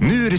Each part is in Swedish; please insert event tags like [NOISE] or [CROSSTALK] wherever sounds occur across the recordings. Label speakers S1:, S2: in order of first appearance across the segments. S1: Nu är det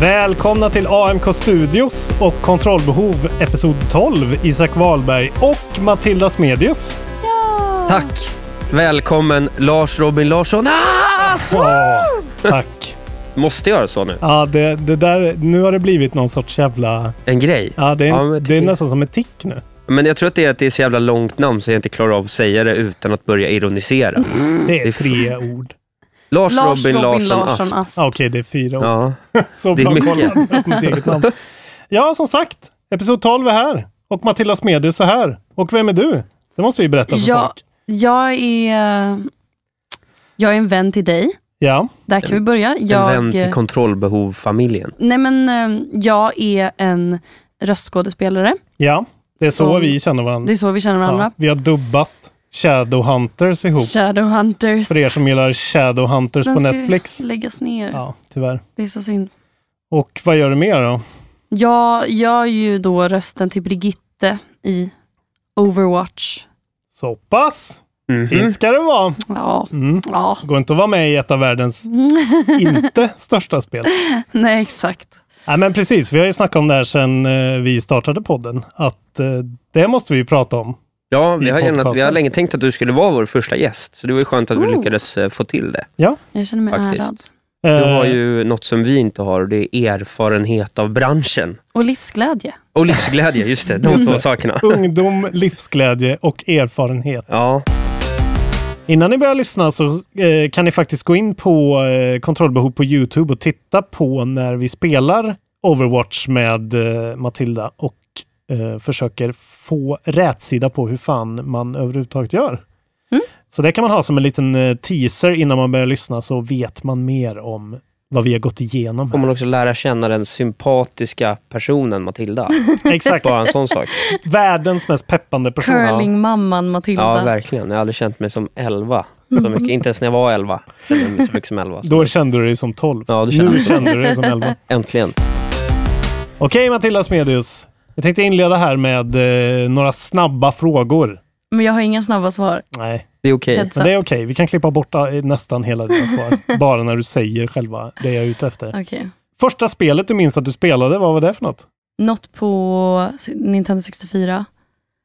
S2: Välkomna till AMK Studios och Kontrollbehov Episod 12. Isak Wahlberg och Matilda Smedius.
S3: Tack! Välkommen Lars Robin Larsson. Ah!
S2: Ja, tack.
S3: Måste jag göra så nu?
S2: Ja, det, det där, nu har det blivit någon sorts jävla...
S3: En grej?
S2: Ja, det är,
S3: Ja, men
S2: det är
S3: tick.
S2: nästan som ett tick nu.
S3: Men jag tror att det är att det är så jävla långt namn så jag inte klarar av att säga det utan att börja ironisera.
S2: Mm, Det
S3: Det
S2: är
S3: är
S2: tre ord.
S3: Lars,
S4: Lars
S3: Robin, Larsson, Asp.
S4: Asp.
S2: Ja, Okej, det är fyra ord.
S3: Ja,
S2: [LAUGHS] Så
S3: det är
S2: bra
S3: mycket.
S2: kollat upp mitt eget namn. Ja, som sagt. Episod 12 är här. Och Matilda Smedius är här. Och vem är du? Det måste vi berätta för
S4: Ja.
S2: folk.
S4: Jag är, eh, jag är en vän till dig.
S2: Ja.
S4: Där kan vi börja.
S3: en
S4: Jag, eh,
S3: vän till kontrollbehov-familjen.
S4: nej men, eh, jag är en röstskådespelare.
S2: Ja, det är så,
S4: Som-
S2: vi känner varandra.
S4: Det är så vi känner
S2: Ja,
S4: varandra.
S2: vi har dubbat Shadowhunters ihop.
S4: Shadowhunters.
S2: För er som gillar Shadowhunters
S4: Den
S2: på
S4: ska ju
S2: Netflix.
S4: läggas ner.
S2: Ja, tyvärr.
S4: Det är så synd.
S2: Och vad gör du mer då?
S4: Jag gör ju då rösten till Brigitte i Overwatch.
S2: Så pass!
S3: Mhm.
S2: Fint ska det vara.
S4: Ja,
S2: Mm.
S4: ja. [LAUGHS]
S2: Går inte att vara med i ett av världens inte största spel.
S4: nej exakt.
S2: Nej men precis, vi har ju snackat om det här sedan eh, vi startade podden. Att eh, det måste vi ju prata om.
S3: Ja, vi
S2: I
S3: har, gärna, vi har
S2: podcasten.
S3: länge tänkt att du skulle vara vår första gäst. Så det var ju skönt att vi
S4: Oh.
S3: lyckades eh, få till det.
S4: Jag känner mig
S3: Faktiskt.
S4: ärad.
S3: Du
S2: Eh,
S3: har ju något som vi inte har och det är erfarenhet av branschen.
S4: Och livsglädje.
S3: Och livsglädje, just det. De två sakerna.
S2: Mm. Ungdom, livsglädje och erfarenhet.
S3: Ja,
S2: Innan ni börjar lyssna så eh, kan ni faktiskt gå in på eh, kontrollbehov på Youtube och titta på när vi spelar Overwatch med eh, Matilda och eh, försöker få rätsida på hur fan man överhuvudtaget gör.
S4: Mm.
S2: Så det kan man ha som en liten eh, teaser innan man börjar lyssna så vet man mer om vad vi har gått igenom.
S3: får man
S2: Här.
S3: också lära känna den sympatiska personen
S4: [LAUGHS]
S3: Matilda.
S2: Exakt!
S3: Bara en sån sak.
S2: Världens mest peppande person.
S4: Curlingmamman Matilda.
S3: Ja, verkligen. Jag har aldrig känt mig som 11. Så
S4: Mm.
S3: mycket. Inte ens när jag var 11 kände jag mig så mycket som 11.
S2: Då kände du dig som 12.
S3: Ja, det kände
S2: nu
S3: jag.
S2: kände du dig
S3: [LAUGHS]
S2: som 11.
S3: Äntligen.
S2: Okej Matilda Smedius. Jag tänkte inleda här med eh, några snabba frågor.
S4: Men jag har inga snabba svar.
S2: Nej,
S3: Det är okej.
S4: Heads
S2: men
S4: up.
S2: det är okej. Vi kan klippa bort eh, nästan hela dina
S4: [LAUGHS]
S2: svar. Bara när du säger själva det jag är ute efter.
S4: Okej.
S2: Första spelet du minns att du spelade, vad var det för något?
S4: Något på Nintendo 64.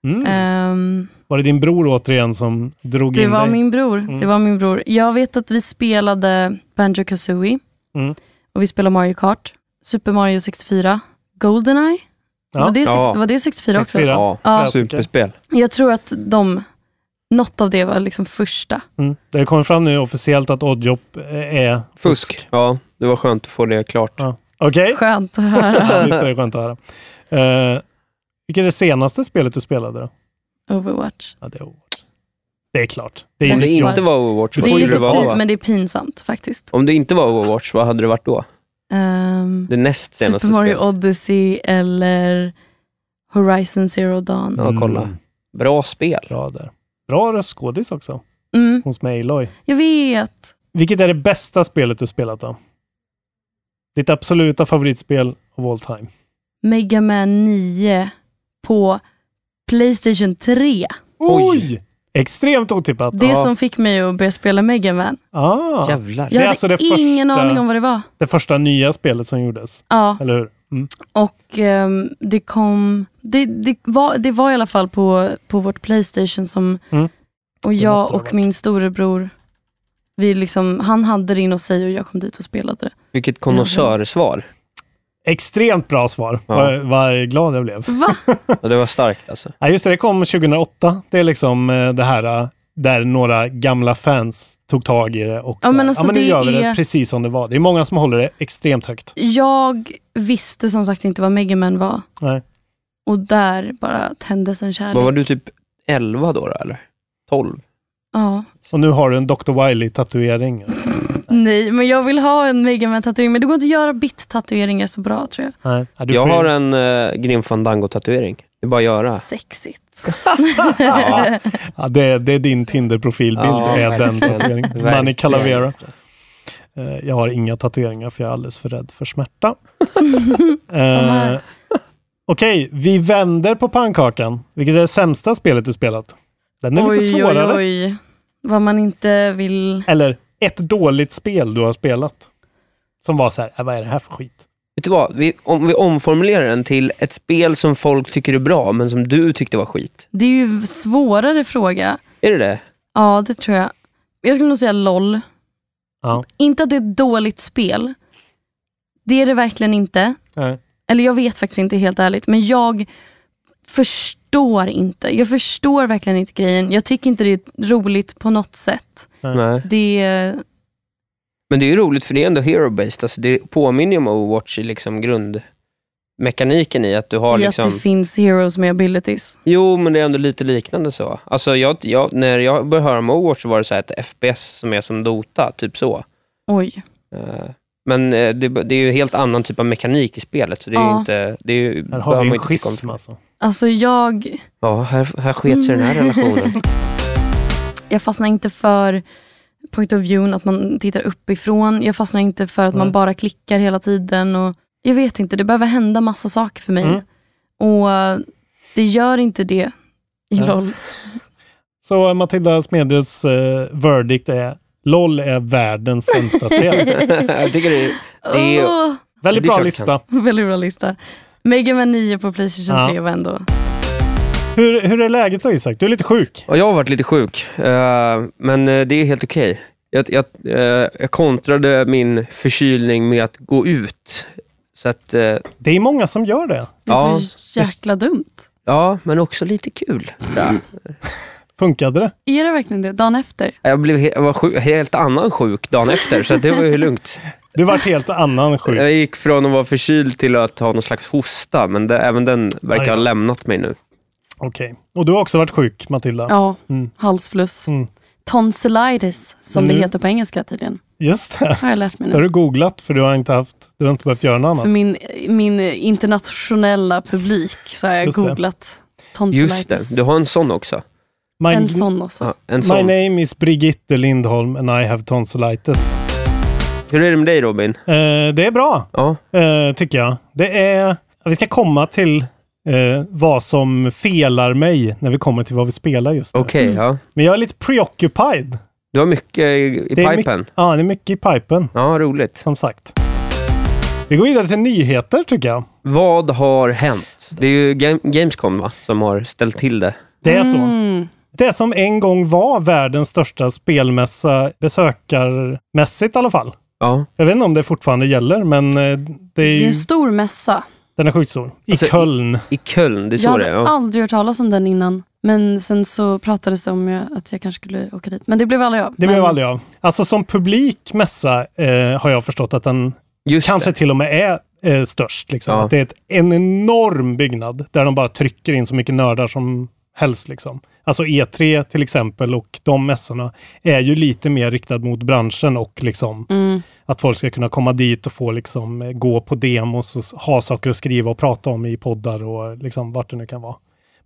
S2: Mm.
S4: Ehm,
S2: Var det din bror återigen som drog
S4: det
S2: in
S4: var
S2: dig?
S4: min bror. Det
S2: Mm.
S4: var min bror. Jag vet att vi spelade Banjo Kazooie.
S2: Mm.
S4: Och vi spelade Mario Kart. Super Mario 64. Goldeneye.
S2: Ja.
S4: Var, det sex-
S3: Ja.
S4: var det 64 också?
S2: 64.
S3: Ja,
S4: Ja.
S3: superspel.
S4: Jag tror att de, något av det var liksom första.
S2: Mm. Det har kommit fram nu officiellt att Oddjob eh, är fusk.
S3: Fusk. Ja, det var skönt att få det klart. [LAUGHS]
S2: Ja. Okej,
S4: Skönt
S2: [LAUGHS]
S4: att höra.
S2: ja, visst är det skönt att höra. Eh, vilket är det senaste spelet du spelade då?
S4: Overwatch.
S2: Ja, det är Overwatch. Det är klart. Det är
S3: Om det
S2: ditt jobb.
S3: inte var Overwatch,
S2: Du
S3: vad
S4: Det
S2: får
S4: är
S2: ju
S3: skulle det
S4: ju så
S2: vara,
S4: pin,
S3: vara?
S4: men det är pinsamt faktiskt.
S3: Om det inte var Overwatch, vad hade det varit då?
S4: Ehm,
S3: Det näst senaste
S4: Super Mario
S3: spelet.
S4: Odyssey eller Horizon Zero Dawn.
S3: Ja, kolla.
S2: Mm.
S3: Bra spel.
S2: Bra där. Bra röstskådis också.
S4: Mm,
S2: Hon som är Aloy.
S4: jag vet.
S2: Vilket är det bästa spelet du spelat då? Ditt absoluta favoritspel of all time?
S4: Mega Man 9 på Playstation 3.
S3: Oj!
S2: Oj! Extremt otippat.
S4: Det
S2: ja.
S4: som fick mig att börja spela Mega Man.
S2: Ah.
S3: Jävlar.
S2: Det
S4: Jag
S2: är
S4: hade
S2: alltså det
S4: ingen
S2: första-
S4: aning om vad det var.
S2: Det första nya spelet som gjordes,
S4: Ja,
S2: eller hur? Mm.
S4: och ehm, det kom... Det, det, var, det var i alla fall på, på vårt Playstation som...
S2: Mm. Det måste
S4: Och
S2: det
S4: jag
S2: ha
S4: och
S2: varit.
S4: min storebror, vi liksom, han hade det inne hos sig och jag kom dit och spelade det.
S3: Vilket konnässörsvar.
S2: Extremt bra svar.
S3: Ja.
S2: Vad, vad glad jag blev.
S4: Va?
S3: Ja, det var starkt alltså.
S2: Ja, just det, det kom 2008. Det är liksom eh, det här eh, där några gamla fans tog tag i det och
S4: Ja,
S2: så här,
S4: men alltså,
S2: ja, men nu
S4: det
S2: gör vi det
S4: är-
S2: precis som det var. Det är många som håller det extremt högt.
S4: Jag visste som sagt inte vad Mega Man var.
S2: Nej.
S4: Och där bara tändes en kärlek.
S3: Vad var du typ 11 då, då eller? 12?
S4: Ja.
S2: Och nu har du en Dr. Wiley-tatuering.
S4: Nej, men jag vill ha en Mega Man tatuering Men det går inte att göra bit-tatueringar så bra tror jag.
S2: Nej. Ja, du
S3: Jag
S2: får ju-
S3: har en uh, Grim Fandango-tatuering. Det är bara att
S4: [LAUGHS]
S3: göra.
S4: Sexigt.
S2: Eh,
S3: Ja,
S2: Ja, det, det är din Tinder-profilbild.
S3: Ja,
S2: är den
S3: verkligen.
S2: tatueringen.
S3: Verkligen.
S2: Manny Calavera. Eh, Jag har inga tatueringar för jag är alldeles för rädd
S3: [LAUGHS]
S2: för smärta.
S4: här.
S2: eh, Okej, vi vänder på pannkakan. Vilket är det sämsta spelet du spelat? Den är lite
S4: Oj, oj,
S2: svårare.
S4: oj. Vad man inte vill.
S2: Eller ett dåligt spel du har spelat. Som var så här, "Äh, vad är det här för skit?
S3: Vet du vad? Vi, om vi omformulerar den till ett spel som folk tycker är bra, men som du tyckte var skit.
S4: Det är ju svårare fråga.
S3: Är det det?
S4: Ja, det tror jag. Jag skulle nog säga LOL.
S2: Ja.
S4: Inte att det är ett dåligt spel. Det är det verkligen inte.
S2: Nej.
S4: Eller jag vet faktiskt inte helt ärligt, men jag förstår inte. Jag förstår verkligen inte grejen. Jag tycker inte det är roligt på något sätt.
S2: Nej.
S3: Nej.
S4: Det är...
S3: Men det är ju roligt, för det är ändå hero-based. Alltså, det påminner ju om Overwatch i liksom grundmekaniken i att du har
S4: i
S3: liksom...
S4: att det finns heroes med abilities.
S3: Jo, men det är ändå lite liknande så. Alltså, jag, jag, när jag började höra om Overwatch så var det så här ett FPS som är som Dota, typ så.
S4: Oj.
S3: Eh, Men eh, det, det är ju helt annan typ av mekanik i spelet, så det är ju
S4: Ja.
S3: inte... Det är ju,
S2: Här
S3: behöver
S2: har vi
S3: man
S2: en
S3: inte tycka om.
S2: schism alltså.
S4: Alltså jag,
S3: Ja, här, här sket sig den här relationen. [LAUGHS]
S4: jag fastnar inte för point of view, att man tittar uppifrån. Jag fastnar inte för att man
S2: Nej.
S4: bara klickar hela tiden. Och jag vet inte, det behöver hända massa saker för mig.
S2: Mm.
S4: Och eh, det gör inte det i
S2: Nej.
S4: LOL.
S2: Så eh, Matilda Smedjes eh, verdict är LOL är världens
S3: [LAUGHS]
S2: sämsta spel.
S3: jag tycker det, är- det är ju...
S4: Åh,
S2: Väldigt
S3: Det är
S2: bra
S3: klart jag kan.
S2: lista.
S4: väldigt bra lista. Mega Man 9 på Playstation
S2: Ja.
S4: 3 var ändå...
S2: Hur, hur är läget då Isak? Du är lite sjuk.
S3: Ja, jag har varit lite sjuk, eh, men eh, det är helt okej. Jag, jag, eh, jag kontrade min förkylning med att gå ut. Så att, eh,
S2: Det är många som gör det.
S4: Det är
S3: Ja,
S4: så jäkla dumt.
S3: ja, men också lite kul.
S2: Funkade det?
S4: Är det verkligen det? Dagen efter?
S3: Jag, blev he- jag var sjuk, helt annan sjuk dagen efter, så att det var ju
S2: [LAUGHS]
S3: lugnt.
S2: Du vart helt annan sjuk.
S3: Jag gick från att vara förkyld till att ha någon slags hosta, men det, även den verkar
S2: Aj, ja.
S3: ha lämnat mig nu.
S2: Okej. Och du har också varit sjuk Matilda.
S4: Ja,
S2: Mm.
S4: halsfluss.
S2: Mm.
S4: Tonsillitis, som
S2: Men
S4: det
S2: nu-
S4: heter på engelska tydligen.
S2: Just det.
S4: har jag lärt mig
S2: Det har
S4: nu.
S2: du googlat för du har inte haft, du har inte behövt göra något annat.
S4: För min, min internationella publik så har jag
S2: Just det.
S4: googlat
S3: Just
S4: tonsillitis.
S3: det, du har en sån också.
S2: My,
S4: En sån också.
S3: Ja, en
S2: my
S3: sån.
S2: name is Brigitte Lindholm and I have tonsillitis.
S3: Hur är det med dig Robin?
S2: Eh, det är bra,
S3: Ja,
S2: eh, tycker jag. Det är... Vi ska komma till eh, vad som felar mig när vi kommer till vad vi spelar just nu.
S3: okej. ja.
S2: Men jag är lite preoccupied.
S3: Du har mycket i, i
S2: Det är
S3: pipen.
S2: mycket- Ja, det är mycket i pipen.
S3: Ja, roligt.
S2: som sagt. Vi går vidare till nyheter tycker jag.
S3: Vad har hänt? Det är ju Ga- Gamescom va, som har ställt till det.
S2: Det är så.
S4: Mm.
S2: Det som en gång var världens största spelmässa besökarmässigt i alla fall.
S3: Ja.
S2: Jag vet inte om det fortfarande gäller, men eh, det är
S4: Det är
S2: ju,
S4: en stor mässa.
S2: den är sjukt stor. I
S3: Alltså, i-
S2: Köln.
S3: I Köln, det är
S4: Jag
S3: så det är.
S4: hade
S3: Ja.
S4: aldrig hört talas om den innan. Men sen så pratades det om jag, att jag kanske skulle åka dit. Men det blev aldrig jag.
S2: Det
S4: men,
S2: blev aldrig av. Alltså som publik mässa eh, har jag förstått att den
S3: Just
S2: kanske
S3: det.
S2: till och med är eh, störst. Liksom.
S3: Ja.
S2: Att det är ett, en enorm byggnad där de bara trycker in så mycket nördar som helst. Liksom. Alltså E3 till exempel och de mässorna är ju lite mer riktad mot branschen och liksom
S4: Mm.
S2: att folk ska kunna komma dit och få liksom eh, gå på demos och s- ha saker att skriva och prata om i poddar och eh, liksom vart det nu kan vara.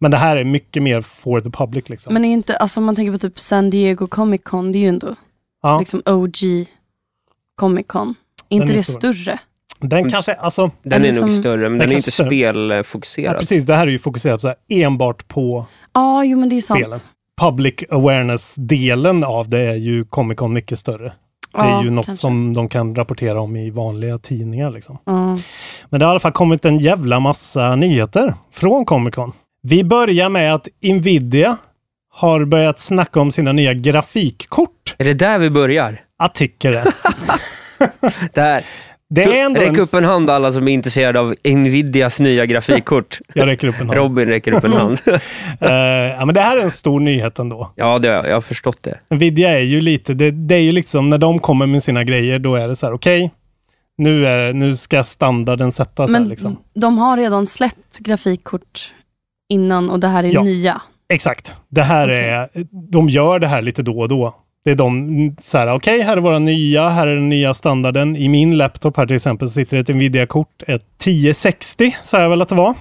S2: Men det här är mycket mer for the public. Liksom.
S4: Men är inte, alltså om man tänker på typ San Diego Comic Con, det är ju ändå
S2: ja,
S4: liksom OG Comic Con. Är inte
S2: är
S4: det
S2: stor.
S4: större?
S2: den kanske, alltså,
S3: Den
S4: Men
S3: är nog
S4: liksom-
S3: större, men
S2: Den
S3: den är
S2: kanske
S3: inte
S2: större.
S3: spelfokuserad.
S2: ja, precis, det här är ju fokuserat så här, enbart på
S4: Ja, jo men det är sant.
S2: Spelen. public awareness-delen av det är ju Comic Con mycket större. Det är ju något som de kan rapportera om i vanliga tidningar. Liksom.
S4: Ja.
S2: Men det har i alla fall kommit en jävla massa nyheter från Comic Con. Vi börjar med att Nvidia har börjat snacka om sina nya grafikkort.
S3: Är det där vi börjar?
S2: Artikel
S3: [LAUGHS] Där.
S2: Det är ändå
S3: Räck
S2: en...
S3: upp en hand alla som är intresserade av Nvidias nya
S2: [LAUGHS]
S3: grafikkort.
S2: Jag räcker upp en hand.
S3: Robin räcker upp en
S4: Mm.
S3: hand. [LAUGHS]
S2: Eh, ja, men det här är en stor nyhet ändå.
S3: ja, det, har jag jag har förstått det.
S2: Nvidia är ju lite, det, det är ju liksom när de kommer med sina grejer, då är det så här, okej, nu, är, nu ska standarden sättas här
S4: Men
S2: liksom.
S4: de har redan släppt grafikkort innan och det här är
S2: Ja.
S4: nya.
S2: Exakt. Det här
S4: Okej.
S2: är, de gör det här lite då och då. Det är de, mm, så här, okej, här är våra nya, här är den nya standarden. I min laptop här till exempel sitter ett Nvidia-kort, ett 1060 sa jag väl att det var,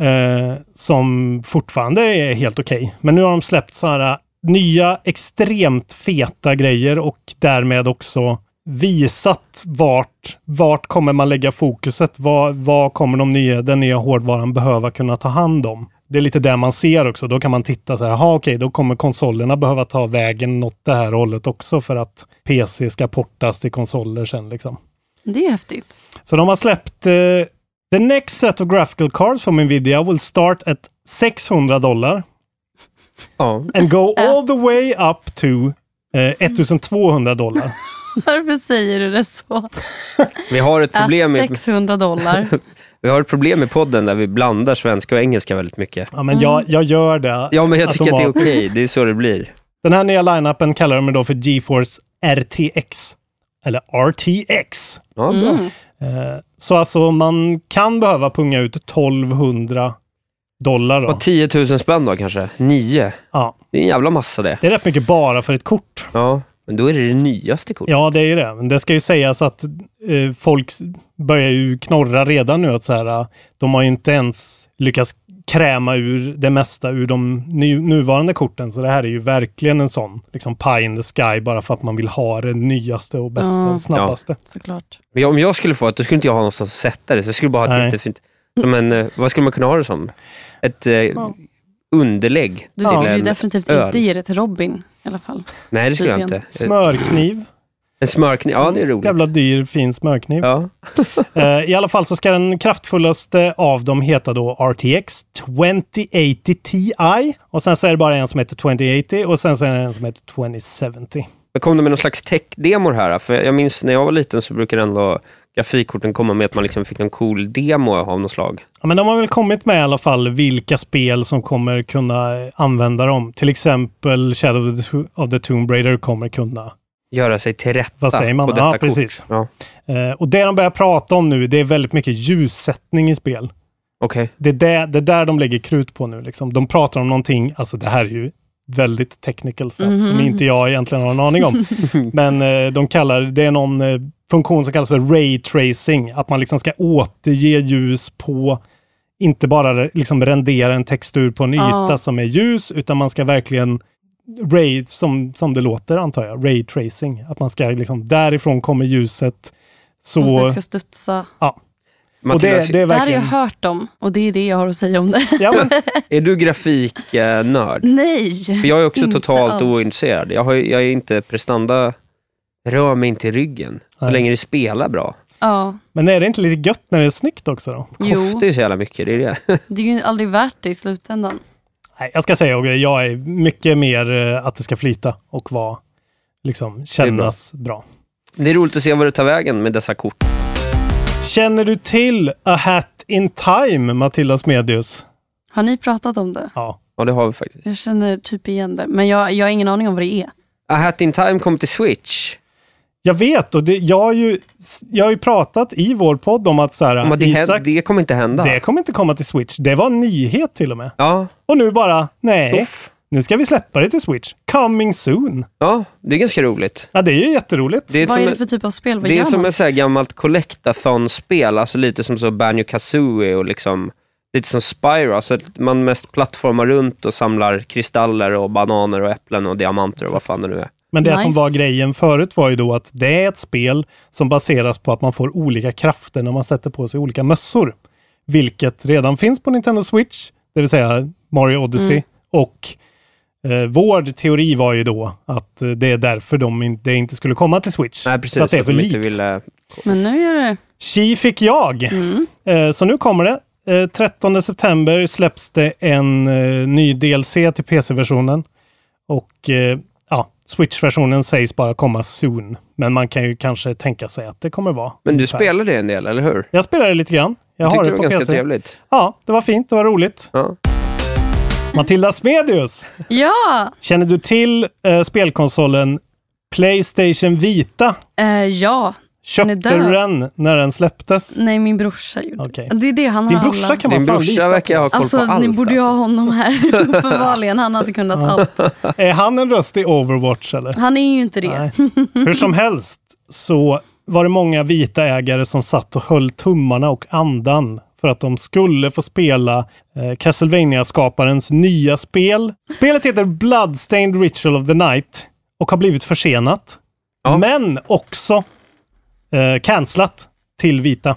S2: eh, som fortfarande är helt okej. Men nu har de släppt så här eh, nya extremt feta grejer och därmed också visat vart, vart kommer man lägga fokuset? Vad, vad kommer de nya, den nya hårdvaran behöva kunna ta hand om? Det är lite där man ser också. Då kan man titta så här, aha, okej, då kommer konsolerna behöva ta vägen åt det här hållet också för att PC ska portas till konsoler sen liksom.
S4: Det är häftigt. [LAUGHS]
S2: Så de har släppt eh, The next set of graphical cards from Nvidia will start at 600 dollar
S3: Ja.
S2: and go
S4: Äh.
S2: all the way up to eh, 1200 dollar.
S4: Varför säger du det så?
S3: Vi har ett problem
S4: Att
S3: med
S4: 600 dollar.
S3: [LAUGHS] Vi har ett problem i podden där vi blandar svenska och engelska väldigt mycket.
S2: Ja, men jag, jag gör det.
S3: Ja, men jag tycker att det är
S2: automatiskt.
S3: okej. Det är så det blir.
S2: Den här nya line-upen kallar de då för GeForce RTX. Eller RTX.
S3: Ja, bra.
S4: Mm.
S2: Eh, så alltså man kan behöva punga ut 1200 dollar då.
S3: Och 10 000 spänn då kanske? 9?
S2: Ja,
S3: Det är en jävla massa det.
S2: det är rätt mycket bara för ett kort.
S3: Ja, men då är det det nyaste kortet.
S2: Ja, det är ju det. Men det ska ju sägas att eh, folk s- börjar ju knorra redan nu att så här, eh, de har ju inte ens lyckats kräma ur det mesta ur de ny, nuvarande korten. Så det här är ju verkligen en sån liksom pie in the sky bara för att man vill ha det nyaste och bästa
S4: Ja.
S2: och snabbaste.
S4: Såklart.
S3: Men om jag skulle få ett, då skulle inte jag ha någonstans att sätta det. Så jag skulle bara ha ett
S2: Nej.
S3: jättefint... Som en, eh, vad skulle man kunna ha det som? Ett eh, underlägg.
S4: Du
S3: till
S4: skulle ju
S3: en
S4: definitivt
S3: öl.
S4: inte ge det till Robin i alla fall.
S3: Nej, det skulle jag inte.
S4: Tydligen.
S2: Smörkniv.
S3: En smörkniv. Ja, det är roligt.
S2: Jävla dyr fin smörkniv.
S3: Ja.
S2: Eh, I alla fall så ska den kraftfullaste av dem heta då RTX 2080 Ti och sen så är det bara en som heter 2080 och sen så är det en som heter 2070.
S3: Men kom det med någon slags tech-demor här? För jag minns när jag var liten så brukade ändå grafikkorten komma med att man liksom fick någon cool demo av något slag.
S2: Ja, men de har väl kommit med i alla fall vilka spel som kommer kunna eh, använda dem. Till exempel Shadow of the Tu- of the Tomb Raider kommer kunna.
S3: Göra sig till rätta
S2: Vad säger man?
S3: på detta
S2: Ja,
S3: kort.
S2: precis.
S3: Ja,
S2: Eh, och det de börjar prata om nu, det är väldigt mycket ljussättning i spel.
S3: Okej.
S2: Det är, det, det är där de lägger krut på nu. Liksom. De pratar om någonting, alltså det här är ju väldigt technical stuff
S4: Mhm.
S2: som inte jag egentligen har en aning
S4: [LAUGHS]
S2: om. Men eh, de kallar, det är någon eh, funktion som kallas för ray tracing, att man liksom ska återge ljus på inte bara liksom rendera en textur på en
S4: Ja.
S2: yta som är ljus, utan man ska verkligen ray, som, som det låter antar jag, ray tracing. Att man ska liksom, därifrån kommer ljuset. Så,
S4: Och det ska studsa.
S2: och
S3: Matilda,
S2: det, det är
S4: Det här har jag
S2: verkligen...
S4: hört om och det är det jag har att säga om det.
S2: Ja, men,
S3: Är du grafiknörd?
S4: [LAUGHS] Nej!
S3: För jag är också
S4: Inte
S3: totalt
S4: alls.
S3: ointresserad. Jag, har, ju- jag är inte prestanda... Rör mig inte i ryggen. Så
S2: Nej.
S3: länge det spelar bra.
S4: Ja,
S2: men är det inte lite gött när det är snyggt också då?
S4: jo.
S3: Det är ju så jävla mycket, det är det. [LAUGHS]
S4: Det är ju aldrig värt det i slutändan.
S2: Nej, jag ska säga att jag är mycket mer eh, att det ska flyta och vara, liksom, kännas bra.
S3: Det är roligt att se vad det tar vägen med dessa kort.
S2: Känner du till A Hat In Time, Matilda Smedius?
S4: Har ni pratat om det?
S2: Ja.
S3: Ja, det har vi faktiskt.
S4: Jag känner typ igen det, men jag, jag har ingen aning om vad det är.
S3: A Hat In Time kom till Switch.
S2: Jag vet och det, jag, har ju, jag har ju pratat i vår podd om att så här,
S3: Men det,
S2: Isak,
S3: hän- det kommer inte hända.
S2: det kommer inte komma till Switch. Det var en nyhet till och med.
S3: Ja,
S2: Och nu bara, nej,
S3: Uff.
S2: nu ska vi släppa det till Switch. Coming soon.
S3: ja, det är ganska roligt.
S2: Ja, det är ju jätteroligt.
S3: Det är
S4: Vad
S3: som
S4: är det
S3: ett-
S4: för typ av spel? Vad
S3: det är
S4: gör
S3: som
S4: man?
S3: ett så här gammalt collectathon-spel, alltså lite som så Banjo Kazooie och liksom lite som Spyro, alltså att man mest plattformar runt och samlar kristaller och bananer och äpplen och diamanter och vad fan det nu är.
S2: Men det som
S4: Nice.
S2: var grejen förut var ju då att det är ett spel som baseras på att man får olika krafter när man sätter på sig olika mössor. Vilket redan finns på Nintendo Switch, det vill säga Mario Odyssey och Eh, vår teori var ju då att eh, det är därför de in, det inte skulle komma till Switch.
S3: Nej, precis.
S2: för att det är för
S3: de
S2: likt.
S3: inte ville...
S4: Men nu gör det
S2: Chi fick jag!
S4: mm.
S2: Eh, så nu kommer det. Eh, 13 september släpps det en eh, ny DLC till PC-versionen. Och eh, ja, Switch-versionen sägs bara komma soon. Men man kan ju kanske tänka sig att det kommer vara.
S3: Men du
S2: ungefär.
S3: spelar det en del, eller hur?
S2: Jag spelar det lite grann. Jag
S3: Jag tyckte
S2: har det
S3: det
S2: på
S3: var ganska
S2: PC.
S3: trevligt.
S2: Ja, det var fint. Det var roligt.
S3: Ja.
S2: Matilda Smedius!
S4: Ja!
S2: Känner du till eh, spelkonsolen Playstation Vita?
S4: Eh, ja. Den är
S2: Köpte
S4: död.
S2: du den när
S3: [LAUGHS]
S2: den släpptes?
S4: Nej, min brorsa gjorde
S2: Okej.
S4: det. Det är det han
S2: Din
S4: har
S2: brorsa
S4: alla.
S2: kan man
S3: Din
S2: fan lita
S3: brorsa verkar
S2: på.
S3: ha koll på
S4: Alltså
S3: allt.
S4: ni borde ju ha
S2: [LAUGHS]
S4: honom här uppenbarligen. Han hade kunnat allt.
S2: Är han en röst i Overwatch eller?
S4: Han är ju inte det.
S2: Nej. Hur som helst så var det många vita ägare som satt och höll tummarna och andan för att de skulle få spela eh, Castlevania-skaparens nya spel. Spelet heter Bloodstained Ritual of the Night och har blivit försenat.
S3: Ja.
S2: Men också eh, cancelat till vita.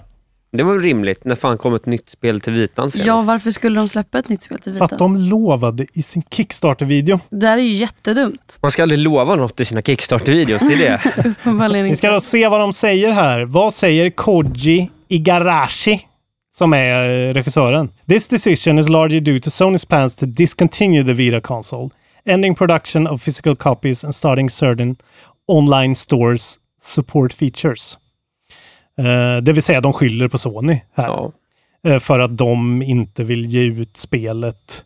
S3: Det var väl rimligt. När fan kom ett nytt spel till Vitan senast?
S4: Ja, varför skulle de släppa ett nytt spel till
S2: För att
S4: Vita?
S2: de lovade i sin Kickstarter-video.
S4: Det här är ju
S2: [LAUGHS]
S4: jättedumt.
S3: Man ska aldrig lova något i sina Kickstarter-videos, det är
S4: [LAUGHS]
S3: det.
S4: Uppenbarligen
S2: Vi ska
S4: inte.
S2: då se vad de säger här. Vad säger Koji Igarashi? Som är eh, regissören. This decision is largely due to Sony's plans to discontinue the Vita console, ending production of physical copies and starting certain online stores support features. Eh, det vill säga, de skyller på Sony här.
S3: Ja.
S2: Eh, för att de inte vill ge ut spelet.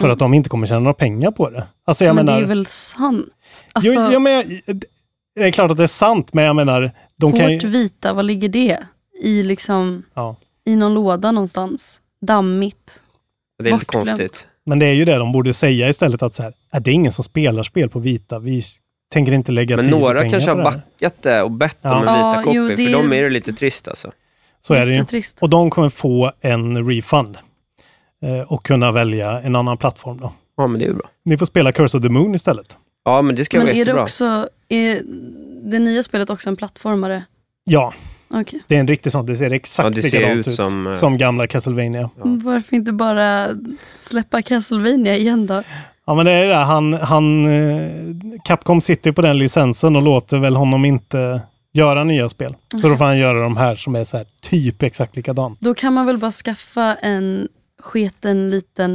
S2: För att de inte kommer tjäna några pengar på det. Alltså, jag
S4: Men det
S2: menar...
S4: är väl sant? Alltså,
S2: Jo, jag menar, det är klart att det är sant, men jag menar, de kan ju...
S4: vårt Vita, vad ligger det? I liksom,
S2: Ja.
S4: i någon låda någonstans. Dammigt.
S3: Det är inte
S4: Bortglömt.
S3: konstigt.
S2: Men det är ju det de borde säga istället att så här, "Äh, det är ingen som spelar spel på vita. Vi tänker inte lägga
S3: Men
S2: tid och
S3: några
S2: pengar
S3: kanske
S2: på
S3: har
S2: det här."
S3: backat det och bett
S2: Ja.
S3: om en
S4: Ja,
S3: vita
S4: jo,
S3: copy,
S4: det
S3: för
S4: är-
S3: de är ju lite trist alltså.
S2: Så är det ju.
S4: Jättetrist.
S2: Och de kommer få en refund. Eh, och kunna välja en annan plattform då.
S3: Ja, men det är ju bra. Och-
S2: Ni får spela Curse of the Moon istället.
S3: Ja, men det ska
S4: Men
S3: vara
S4: är det
S3: jättebra.
S4: också, är det nya spelet också en plattformare?
S2: Ja,
S4: Okej.
S2: det är en riktig sån. Det ser exakt
S3: Ja, det ser
S2: likadant
S3: ut
S2: ut
S3: som, eh,
S2: som, gamla Castlevania.
S3: Ja.
S4: Varför inte bara släppa Castlevania igen då?
S2: Ja, men det är det. där. Han, han, eh, Capcom sitter på den licensen och låter väl honom inte göra nya spel. Så då får han göra de här som är så här typ exakt likadant.
S4: Då kan man väl bara skaffa en sketen liten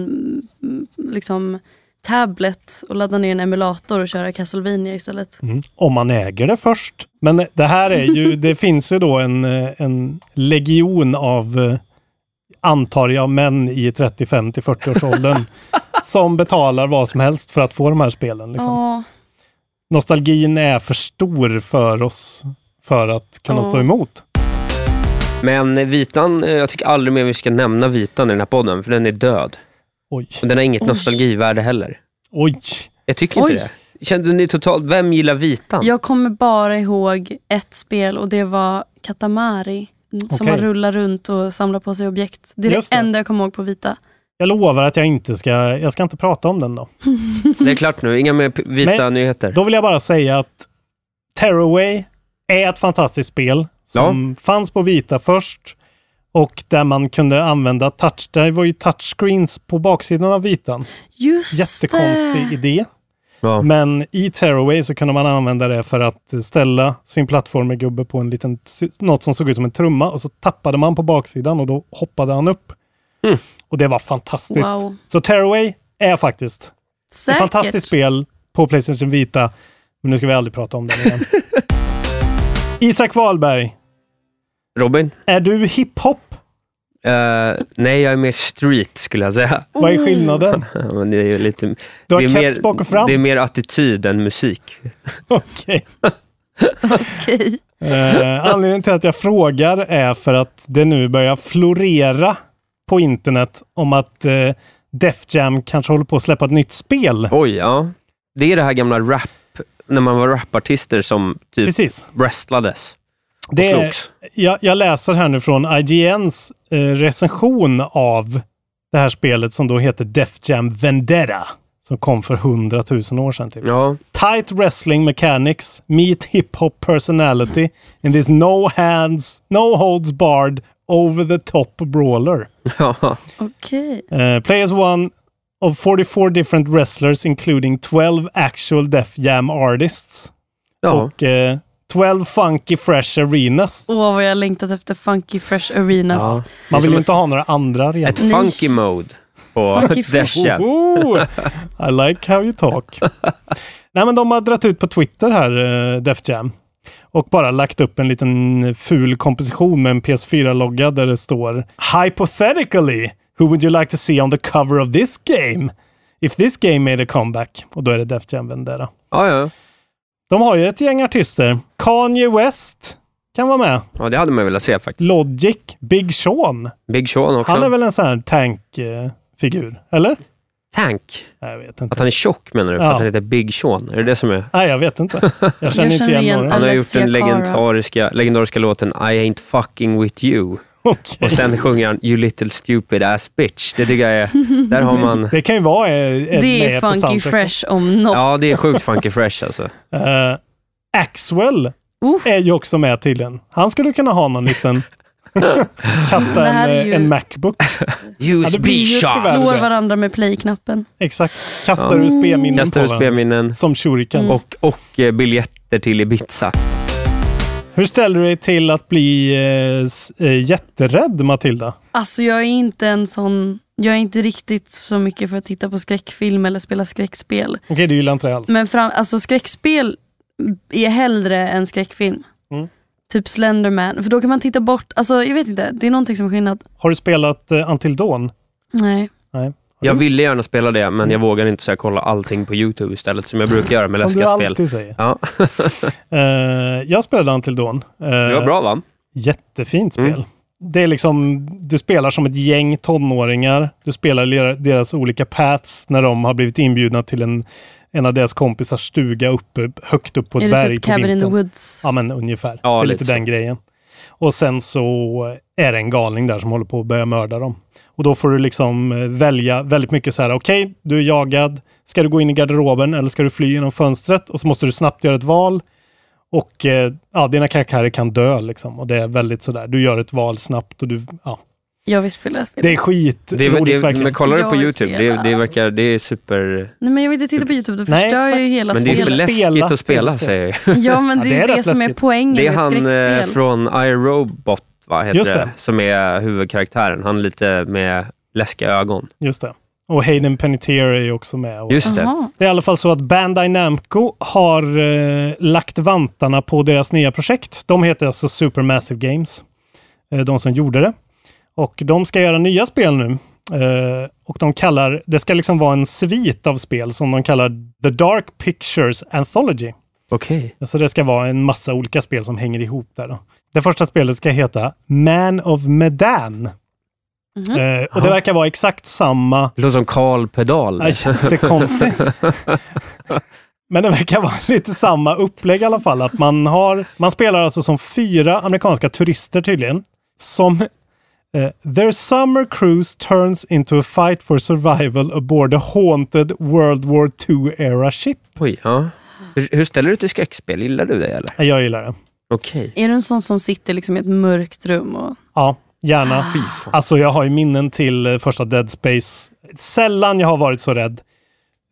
S4: mm, liksom tablet och ladda ner en emulator och köra Castlevania istället.
S2: Mm. Om man äger det först. Men det här är
S4: [LAUGHS]
S2: ju, det finns ju då en, eh, en legion av, eh, antar jag, män i 35 till 40-årsåldern
S4: [LAUGHS]
S2: som betalar vad som helst för att få de här spelen. Liksom.
S4: Ja,
S2: Nostalgin är för stor för oss för att kunna
S4: Ja.
S2: stå emot.
S3: Men vitan, eh, jag tycker aldrig mer vi ska nämna vitan i den här podden, för den är död.
S2: Oj,
S3: Och den har inget
S4: Oj.
S3: nostalgivärde heller.
S2: oj.
S3: Jag tycker
S4: Oj.
S3: inte det. Kände ni totalt, vem gillar vitan?
S4: jag kommer bara ihåg ett spel och det var Katamari. mm, Som
S2: Okej.
S4: man rullar runt och samlar på sig objekt. Det är
S2: Just
S4: det
S2: det.
S4: enda jag kommer ihåg på vita.
S2: Jag lovar att jag inte ska, jag ska inte prata om den då.
S3: Det är klart nu, inga mer p- vita
S2: Men-
S3: nyheter.
S2: Då vill jag bara säga att Tearaway är ett fantastiskt spel som fanns på vita först och där man kunde använda touch. Det var ju touchscreens på baksidan av vitan.
S4: Just
S2: Jättekonstig
S4: det!
S2: idé.
S3: Ja.
S2: Men i Tearaway så kunde man använda det för att eh, ställa sin plattformegubbe på en liten, sy- något som såg ut som en trumma och så tappade man på baksidan och då hoppade han upp.
S3: Mm.
S2: Och det var fantastiskt.
S4: Wow.
S2: Så Tearaway är faktiskt ett
S4: Säkert.
S2: fantastiskt spel på Playstation Vita. Men nu ska vi aldrig prata om den igen. Isak Wahlberg,
S3: Robin?
S2: är du hiphop?
S3: Eh, nej, jag är mer street skulle jag säga.
S2: Vad är skillnaden?
S3: [LAUGHS] Ja, Men det är ju lite...
S2: Du har
S3: det är
S2: keps
S3: mer-
S2: bak och fram.
S3: Det är mer attityd än musik.
S2: Okej.
S4: Okej.
S2: Eh, anledningen till att jag frågar är för att det nu börjar florera på internet om att eh, Def Jam kanske håller på att släppa ett nytt spel.
S3: Oj, ja. Det är det här gamla rap, när man var rapartister som typ
S2: Precis.
S3: wrestlades. och
S2: Det är,
S3: slogs.
S2: jag, jag läser här nu från IGNs eh, recension av det här spelet som då heter Def Jam Vendetta. Som kom för hundratusen år sedan. Typ.
S3: Ja, [LAUGHS]
S2: tight wrestling mechanics meet hip hop personality in this no hands, no holds barred, over the top brawler.
S3: ja.
S4: Okej.
S2: Uh, players one of 44 different wrestlers including 12 actual Def Jam artists.
S3: Ja.
S2: Och eh, 12 funky fresh arenas.
S4: Åh, vad jag längtat efter Funky Fresh Arenas.
S3: ja.
S2: Man vill ju inte ha några andra
S3: Ett
S2: arenor.
S4: Ni-
S3: funky mode på [LAUGHS]
S4: Funky
S3: Death
S4: fresh.
S3: Jam.
S2: Ooh, [LAUGHS] I like how you talk. Nej, men de har dratt ut på Twitter här, eh, Def Jam. Och bara lagt upp en liten ful komposition med en PS4-logga där det står Hypothetically, who would you like to see on the cover of this game? If this game made a comeback. Och då är det Def Jam Vendetta.
S3: Ja, ja.
S2: De har ju ett gäng artister. Kanye West kan vara med.
S3: ja, det hade man velat se faktiskt.
S2: Logic. Big Sean.
S3: Big Sean också.
S2: Han är väl en sån här tank-figur? Eller?
S3: Tank.
S2: Nej, jag vet inte.
S3: Att han är tjock menar du? För
S2: Ja.
S3: att han heter Big Sean? Är det det som är?
S2: Nej, jag vet inte. Jag känner inte
S4: känner
S2: igen,
S4: igen
S2: några.
S4: alla.
S3: Han har gjort
S4: Alessia
S3: den
S4: Cara.
S3: legendariska, legendariska låten I ain't fucking with you.
S2: [LAUGHS] Okej.
S3: Och sen sjunger han You little stupid ass bitch. Det tycker jag är... Där har man...
S2: Det kan ju vara eh, ett
S4: det är
S2: med på
S4: Funky
S2: soundtracken.
S4: Fresh om något.
S3: Ja, det är sjukt funky fresh alltså.
S2: Eh, Axwell
S4: Oh.
S2: är ju också med tydligen. Han skulle kunna ha någon
S4: [LAUGHS]
S2: liten...
S4: Det
S2: Kasta en,
S4: här är
S2: eh,
S4: ju-
S2: en Macbook. Ja, det blir
S3: USB
S2: ju
S3: shot.
S2: tyvärr-
S4: Slår varandra med play-knappen.
S2: Exakt. Kasta
S3: Ja.
S2: USB-minnen på
S3: Kastar
S2: varandra.
S3: USB-minnen
S2: Som
S4: Mm.
S2: shuriken. Och
S3: och, och eh, biljetter till Ibiza.
S2: hur ställer du dig till att bli eh, s- eh, jätterädd, Matilda?
S4: Alltså jag är inte en sån, jag är inte riktigt så mycket för att titta på skräckfilm eller spela skräckspel.
S2: Okej, du gillar inte det alls.
S4: Men fram, alltså skräckspel är hellre än skräckfilm.
S2: Mm.
S4: Typ Slenderman, för då kan man titta bort, alltså jag vet inte, det är någonting som är skillnad.
S2: Har du spelat eh, Until Dawn?
S4: Nej.
S2: Nej.
S3: Jag ville gärna spela det, men jag vågar inte så jag kollar allting på YouTube istället, som jag brukar göra med
S2: Som du
S3: läskiga spel.
S2: alltid säger.
S3: Ja, [LAUGHS]
S2: Eh, jag spelade Until Dawn. Eh,
S3: det var bra va?
S2: Jättefint spel.
S3: Mm.
S2: Det är liksom, du spelar som ett gäng tonåringar. Du spelar lera- deras olika paths när de har blivit inbjudna till en, en av deras kompisars stuga uppe, högt upp på ett
S4: är det
S2: berg
S4: typ
S2: på
S4: Cabin in the
S2: vintern.
S4: Woods?
S2: Ja men ungefär.
S3: Ja,
S2: det är
S3: lite
S2: lite den grejen. Och sen så är det en galning där som håller på att börja mörda dem. Och då får du liksom eh, välja väldigt mycket så här, okej, du är jagad. Ska du gå in i garderoben eller ska du fly genom fönstret? Och så måste du snabbt göra ett val. Och eh, ja, dina karaktärer kan dö liksom. Och det är väldigt sådär, du gör ett val snabbt och du, ja.
S4: Jag vill spela spel.
S2: Det är skit
S3: Det, är- det,
S2: roligt
S3: är-
S2: verkligen.
S3: men kollar du på
S4: Jag
S3: YouTube? Det,
S4: spelar.
S3: det verkar, det är super...
S4: Nej men jag vill inte titta på YouTube, då
S2: Nej,
S4: förstör
S2: exakt.
S4: ju hela
S3: Men det är
S4: spelet.
S3: för
S2: Spela.
S3: läskigt att
S2: Spela
S3: spela
S2: till
S3: säger jag.
S4: Ja men det
S2: Ja, det
S4: är
S2: är
S4: ju det,
S2: rätt
S4: som är
S2: läskigt.
S4: poängen
S3: Det är
S4: med ett
S3: han eh,
S4: skräckspel.
S3: från iRobot, va, heter
S2: Just
S3: det.
S2: det.
S3: som är huvudkaraktären. Han lite med läskiga ögon.
S2: Just det. Och Hayden Panettiere är ju också med. Och
S3: Just det.
S4: Jaha.
S2: Det är i alla fall så att Bandai Namco har eh, lagt vantarna på deras nya projekt. De heter alltså Supermassive Games. Eh, de som gjorde det. Och de ska göra nya spel nu. Eh, och de kallar, det ska liksom vara en svit av spel som de kallar The Dark Pictures Anthology.
S3: Okej.
S2: Så det ska vara en massa olika spel som hänger ihop där. Då. Det första spelet ska heta Man of Medan.
S4: Mhm.
S2: Eh, och det verkar vara exakt samma
S3: Det låter som Karl Pedal.
S2: Ja, Jättekonstigt. [LAUGHS] Men det verkar vara lite samma upplägg i alla fall. Att man, har, man spelar alltså som fyra amerikanska turister tydligen. Som eh, Their summer cruise turns into a fight for survival aboard a haunted World War II era ship.
S3: Oj, ja. Hur, hur ställer du till skräckspel? Gillar du det eller?
S2: Eh, Jag gillar det.
S3: Okej.
S4: Är du en sån som sitter liksom i ett mörkt rum och...
S2: Ja, gärna. Alltså jag har ju minnen till eh, första Dead Space. Sällan jag har varit så rädd.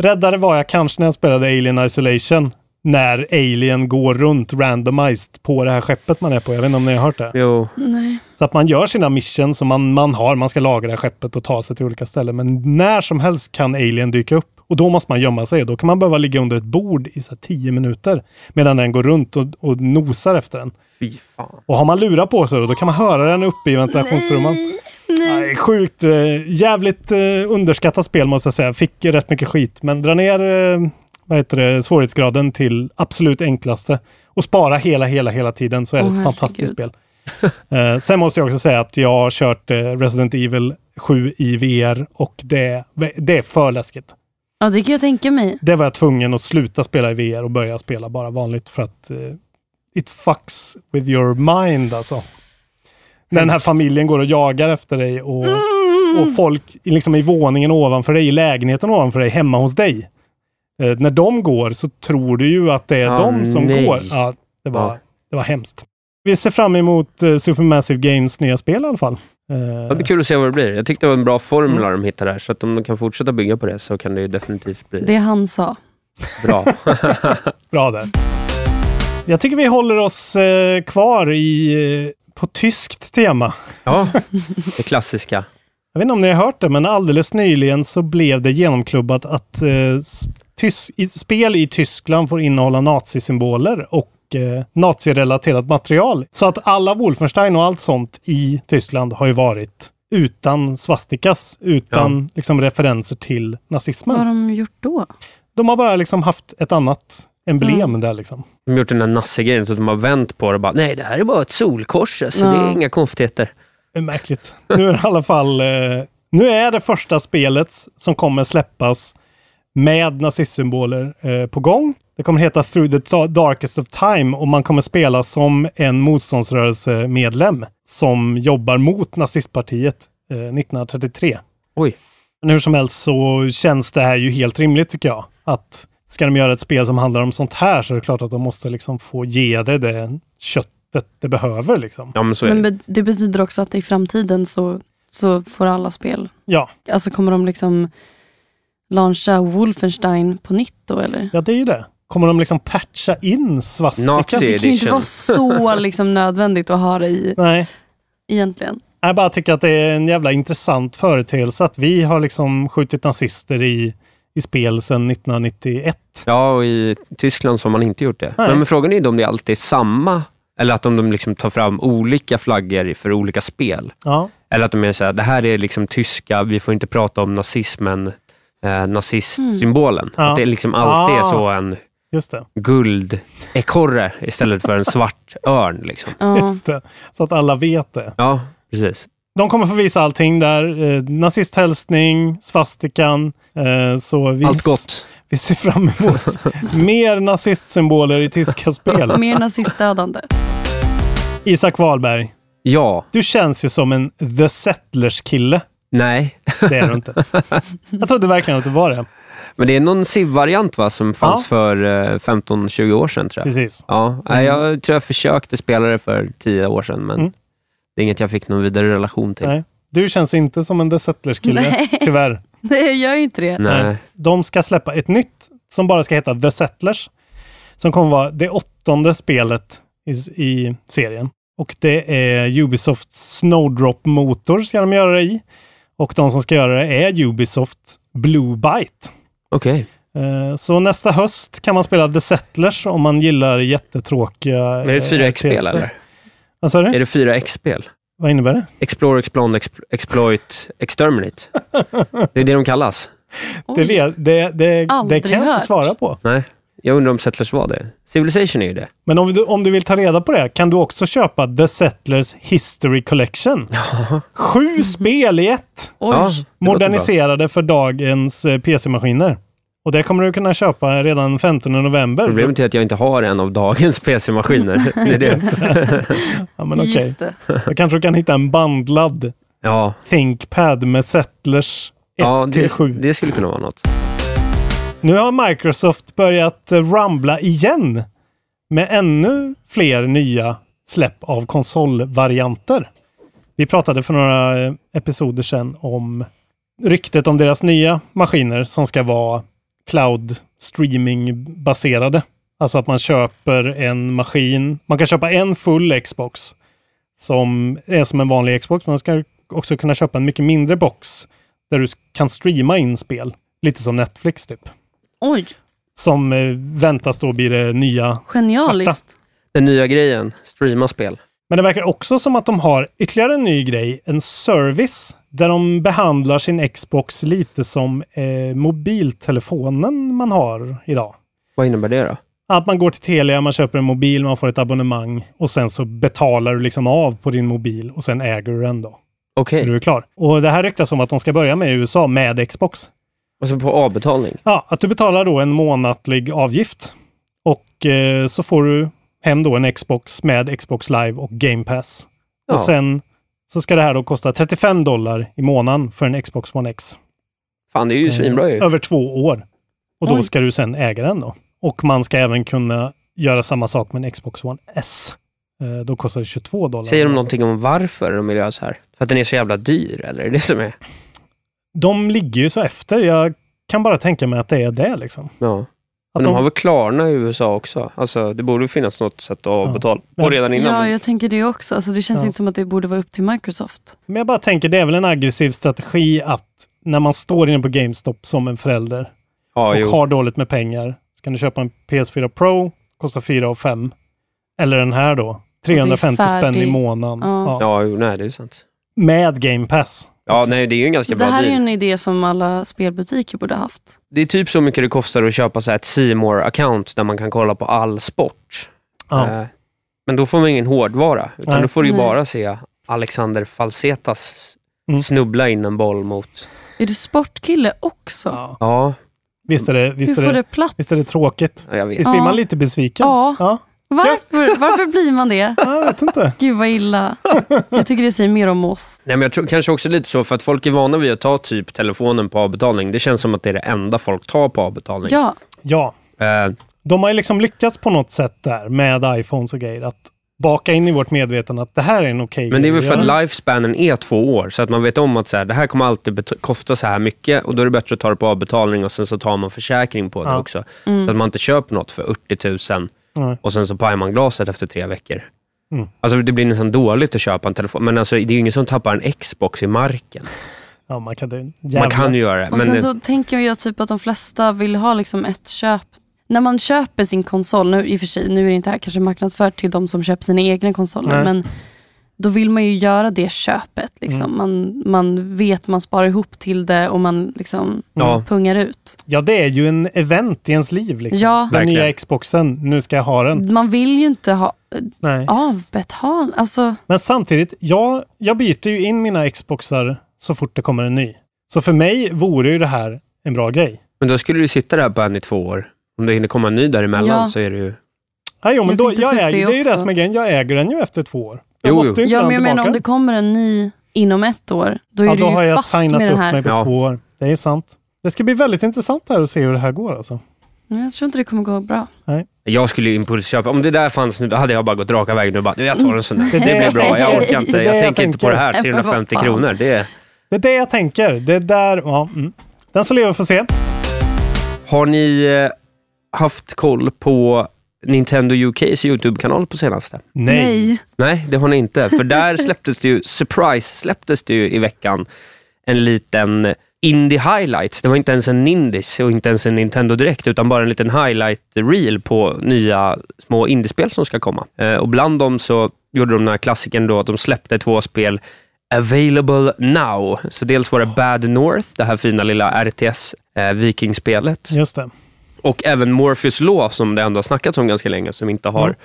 S2: Räddare var jag kanske när jag spelade Alien Isolation. När Alien går runt randomized på det här skeppet man är på. Jag vet inte om ni har hört det.
S3: Jo,
S4: Nej.
S2: Så att man gör sina missions som man, man har. Man ska lagra skeppet och ta sig till olika ställen. Men när som helst kan Alien dyka upp. Och då måste man gömma sig. Då kan man behöva ligga under ett bord i så här, tio minuter. Medan den går runt och, och nosar efter den.
S3: fy fan.
S2: Och har man lurar på sig då, då kan man höra den uppe i ventilationsrumman. Nej, sjukt. eh, Jävligt eh, underskattat spel måste jag säga. Fick rätt mycket skit. Men dra ner eh, vad heter det, svårighetsgraden till absolut enklaste. Och spara hela, hela, hela tiden så är det
S4: Åh,
S2: ett fantastiskt
S4: herregud.
S2: spel. Eh, sen måste jag också säga att jag har kört eh, Resident Evil 7 i VR och det, det är för läskigt.
S4: Ja, det kan jag tänka mig.
S2: Det var jag tvungen att sluta spela i VR och börja spela bara vanligt för att eh, it fucks with your mind alltså. När den här familjen går och jagar efter dig och, och folk i- liksom i våningen ovanför dig, i lägenheten ovanför dig, hemma hos dig. Eh, när de går så tror du ju att det är
S3: Ah,
S2: de som
S3: nej.
S2: går. Ja, det, var,
S3: Ja.
S2: det var hemskt. vi ser fram emot eh, Supermassive Games nya spel i alla fall. Eh,
S3: Det blir kul att se vad det blir. Jag tyckte det var en bra formula de hittade här, så att om de kan fortsätta bygga på det så kan det ju definitivt bli
S4: Det han sa.
S3: bra.
S4: [LAUGHS]
S2: Bra där. Jag tycker vi håller oss eh, kvar i, eh, på tyskt tema.
S3: ja, det klassiska.
S2: Jag vet inte om ni har hört det, men alldeles nyligen så blev det genomklubbat att eh, s- tys- i, spel i Tyskland får innehålla nazisymboler och eh, nazirelaterat material. Så att alla Wolfenstein och allt sånt i Tyskland har ju varit utan svastikas, utan liksom referenser till nazismen.
S4: Vad har de gjort då?
S2: De har bara liksom haft ett annat emblem där liksom.
S3: De har gjort den där nassegrejen så att de har vänt på det och bara, nej det här är bara ett solkors, så det
S4: Ja.
S3: är inga konstigheter.
S2: Det är märkligt. Nu är det i alla fall... Eh, nu är det första spelet som kommer släppas med nazistsymboler eh, på gång. Det kommer heta Through the Da- Darkest of Time och man kommer spela som en motståndsrörelsemedlem som jobbar mot nazistpartiet eh, 1933.
S3: Oj.
S2: Men hur som helst så känns det här ju helt rimligt tycker jag. Att ska de göra ett spel som handlar om sånt här så är det klart att de måste liksom få ge det det köttet det behöver liksom.
S3: Ja men så är
S4: Men
S3: det.
S4: be- det betyder också att i framtiden så, så får alla spel,
S2: Ja,
S4: alltså kommer de liksom launcha Wolfenstein på nytt då eller?
S2: Ja, det är ju det. Kommer de liksom patcha in svastikan?
S3: Nazi.
S4: Det kan ju inte
S3: edition.
S2: [LAUGHS]
S4: vara så liksom nödvändigt att ha det i
S2: Nej.
S4: egentligen.
S2: Jag bara tycker att det är en jävla intressant företeelse att vi har liksom skjutit nazister i, i spel sedan 1991.
S3: Ja, och i Tyskland så har man inte gjort det.
S2: Nej.
S3: Men, men frågan är ju om det alltid är samma, eller att om de liksom tar fram olika flaggor för olika spel.
S2: Ja,
S3: Eller att de är så här, det här är liksom tyska, vi får inte prata om nazismen, eh, nazistsymbolen.
S2: Mm. Ja.
S3: Att det liksom alltid är
S2: Ah.
S3: så en
S2: just det.
S3: guldekorre istället för en
S2: [LAUGHS]
S3: svart örn. Liksom.
S4: Ja.
S2: Just det. Så att alla vet det.
S3: Ja, precis.
S2: De kommer få visa allting där. Eh, nazisthälsning, svastikan. Eh, så vi,
S3: Allt gott.
S2: vi ser fram emot
S3: [LAUGHS]
S2: mer nazistsymboler i tyska spel.
S4: [LAUGHS] Mer nazistdödande.
S2: Isak Wahlberg,
S3: Ja,
S2: du känns ju som en The Settlers-kille.
S3: nej. [LAUGHS]
S2: Det är du inte. Jag trodde verkligen att du var det.
S3: Men det är någon SIV-variant va, som fanns
S2: Ja.
S3: för eh, 15-20 år sedan tror jag.
S2: Precis.
S3: Ja, nej, jag tror jag försökte spela det för 10 år sedan, men
S2: Mm.
S3: det är inget jag fick någon vidare relation till. Nej.
S2: Nej. Du känns inte som en The Settlers-kille,
S4: Nej.
S2: tyvärr.
S4: Nej, jag gör ju inte det.
S2: Nej. De ska släppa ett nytt som bara ska heta The Settlers. Som kommer vara det åttonde spelet i, i serien. Och det är Ubisofts Snowdrop-motor ska de göra det i. Och de som ska göra det är Ubisoft Blue Byte.
S3: Okej.
S2: Eh, Så nästa höst kan man spela The Settlers om man gillar jättetråkiga... eh,
S3: Men är det ett 4X-spel eller?
S2: Vad sa
S3: Är
S2: du?
S3: det 4X-spel?
S2: Vad innebär det?
S3: Explore, Explond, exp- Exploit, Exterminate. Det är det de kallas.
S2: Det,
S4: Oj.
S2: vet, det, det, det
S4: Aldrig
S2: kan jag inte
S4: hört.
S2: svara på.
S3: Nej, jag undrar om Settlers var det. Civilization är ju det.
S2: Men om du, om du vill ta reda på det kan du också köpa The Settlers
S3: [LAUGHS]
S2: History Collection. Sju spel i ett!
S4: Oj.
S3: Ja, det låter bra.
S2: Moderniserade för dagens eh, PC-maskiner. Och det kommer du kunna köpa redan 15 november.
S3: Problemet är att jag inte har en av dagens [LAUGHS] PC-maskiner. Det är [LAUGHS] det.
S2: Ja, men okej.
S4: Just det.
S2: Då kanske du kan hitta en bandlad
S3: Ja,
S2: ThinkPad med Settlers 1
S3: ja
S2: till
S3: det,
S2: 7.
S3: det skulle kunna vara något.
S2: Nu har Microsoft börjat eh, rumbla igen med ännu fler nya släpp av konsolvarianter. Vi pratade för några eh, episoder sedan om ryktet om deras nya maskiner som ska vara cloud streaming baserade. Alltså att man köper en maskin. Man kan köpa en full Xbox som är som en vanlig Xbox. men Man ska också kunna köpa en mycket mindre box där du kan streama in spel. Lite som Netflix typ
S4: Oj,
S2: som eh, väntas då bli det nya.
S4: genialiskt.
S3: Den nya grejen, streama spel.
S2: Men det verkar också som att de har ytterligare en ny grej, en service där de behandlar sin Xbox lite som eh, mobiltelefonen man har idag.
S3: Vad innebär det då?
S2: Att man går till Telia, man köper en mobil, man får ett abonnemang och sen så betalar du liksom av på din mobil och sen äger du den då.
S3: Okej,
S2: Är du klar? Och det här ryktas om att de ska börja med i USA med Xbox.
S3: och så på avbetalning.
S2: Ja, att du betalar då en månatlig avgift och eh, så får du hem då en Xbox med Xbox Live och Game Pass.
S3: Ja.
S2: Och sen så ska det här då kosta 35 dollar i månaden för en Xbox One X. Eh,
S3: Fan, det är ju svinbra ju.
S2: Över två år. Och då
S4: Oj.
S2: ska du sen äga den då. Och man ska även kunna göra samma sak med en Xbox One S. Eh, Eh, då kostar det 22 dollar.
S3: Säger de någonting om varför de vill göra så här? För att den är så jävla dyr, eller? [LAUGHS] Är det det som är?
S2: De ligger ju så efter. Jag kan bara tänka mig att det är det liksom.
S3: Ja.
S2: Att
S3: Men de har väl Klarna i USA också? Alltså, det borde finnas något sätt att avbetala på
S2: Men-
S3: redan innan.
S4: Ja, jag tänker det också. Alltså, det känns
S2: Ja.
S4: inte som att det borde vara upp till Microsoft.
S2: Men jag bara tänker, det är väl en aggressiv strategi att när man står inne på GameStop som en förälder
S3: ja,
S2: och
S3: jo.
S2: har dåligt med pengar, ska du köpa en PS4 Pro, kostar 4 och 5. Eller den här då, 350 spänn i
S4: färdig.
S2: månaden.
S4: Ja.
S2: Ja.
S3: Ja, jo, nej, det är sant.
S2: Med Game Pass.
S3: Ja, nej, det är ju en ganska
S4: Det
S3: bra
S4: här är
S3: deal.
S4: ju en idé som alla spelbutiker borde haft.
S3: Det är typ så mycket det kostar att köpa så här ett seymour account där man kan kolla på all sport.
S2: Ja.
S3: Eh, Men då får man ingen hårdvara, utan
S2: Nej.
S3: då får du ju
S4: Nej.
S3: bara se Alexander Falsetas
S2: Mm.
S3: snubbla in en boll mot...
S4: Är du sportkille också?
S2: Ja.
S3: Ja,
S2: Visst, är det, visst,
S4: Hur
S2: är
S4: får
S2: det,
S4: det plats?
S2: visst är det tråkigt?
S3: jag vet.
S2: Visst blir
S4: Ja.
S2: man lite besviken?
S4: Ja.
S2: ja.
S4: varför, varför blir
S2: [LAUGHS]
S4: man det?
S2: Jag vet inte.
S4: Gud vad illa. Jag tycker det säger mer om oss.
S3: Nej, men jag tror kanske också lite så, för att folk är vana vid att ta typ telefonen på avbetalning. Det känns som att det är det enda folk tar på avbetalning.
S4: Ja,
S2: Ja,
S3: Eh,
S2: de har ju liksom lyckats på något sätt där med iPhones och grejer att baka in i vårt medvetande att det här är en okej
S3: Men det är väl
S2: grej
S3: för
S2: göra.
S3: att lifespanen är två år, så att man vet om att så här, det här kommer alltid bet- kosta så här mycket och då är det bättre att ta det på avbetalning och sen så tar man försäkring på det
S2: Ja.
S3: också.
S4: Mm.
S3: Så att man inte köper något för 80 000
S2: Nej.
S3: och sen så pajar man glaset efter tre veckor.
S2: Mm.
S3: Alltså det blir nästan dåligt att köpa en telefon, men alltså, det är ju ingen som tappar en Xbox i marken.
S2: Ja, man kan, det,
S3: Man kan ju göra det,
S4: och
S3: men
S4: sen så tänker jag typ att de flesta vill ha liksom ett köp. När man köper sin konsol, nu i och för sig, nu är det inte här kanske marknadsfört till de som köper sina egna konsoler,
S2: Nej. Mm.
S4: men då vill man ju göra det köpet. Liksom. Man, man vet, man sparar ihop till det och man liksom
S3: Ja.
S4: pungar ut.
S2: Ja, det är ju en event i ens liv. Liksom.
S4: Ja.
S2: Den
S3: Verkligen.
S2: nya Xboxen, nu ska jag ha den.
S4: Man vill ju inte ha
S2: Nej.
S4: avbetal. Alltså,
S2: Men samtidigt, jag, jag byter ju in mina Xboxar så fort det kommer en ny. Så för mig vore ju det här en bra grej.
S3: men då skulle du sitta där på en i två år. Om det hinner komma en ny däremellan
S4: Ja.
S3: så är det ju...
S2: Ja, jo, men jag
S4: Jag
S2: då,
S4: tänkte
S2: jag
S4: typ
S2: äger,
S4: det
S2: det, är ju det
S4: också.
S2: som är grejen. Jag äger den ju efter två år. Jag
S3: Jo, jo.
S2: måste ju inte
S4: ja,
S2: ha
S4: men
S2: den
S4: jag menar
S2: tillbaka.
S4: om det kommer en ny inom ett år, då är
S2: ja,
S4: du
S2: då har
S4: ju
S2: jag
S4: fast
S2: signat
S4: med den
S2: upp mig
S4: här.
S2: på
S3: Ja.
S2: två år. Det är sant. Det ska bli väldigt intressant här att se hur det här går alltså.
S4: Men Jag tror inte det kommer gå bra.
S3: Jag skulle ju impulsköpa. Om det där fanns nu, då hade jag bara gått raka vägen och bara, nu jag tar en sån där. Det,
S2: Det är det
S3: blir
S2: jag
S3: bra. Jag
S4: tänker.
S3: orkar
S4: [LAUGHS]
S3: inte.
S4: Det är
S2: det
S3: Jag
S2: jag
S3: tänker inte på det här.
S4: tänker.
S3: 350
S4: Nej, men vad
S3: kronor. Det är...
S2: Det är det jag tänker. Det är där, ja. Mm. Den som lever får se.
S3: Har ni eh, haft koll på Nintendo UKs YouTube-kanal på senaste?
S2: Nej.
S3: Nej, det har ni inte. För där släpptes det ju, surprise, släpptes det ju i veckan en liten Indie highlights. Det var inte ens en Nindis och inte ens en Nintendo Direkt, utan bara en liten highlight reel på nya små indiespel som ska komma. Eh, och bland dem så gjorde de den här klassikern då att de släppte två spel Available Now. Så dels var det Bad North, det här fina lilla RTS eh, vikingspelet.
S2: Just det.
S3: Och även Morpheus Law som det ändå har snackats om ganska länge, som inte har,
S2: Mm.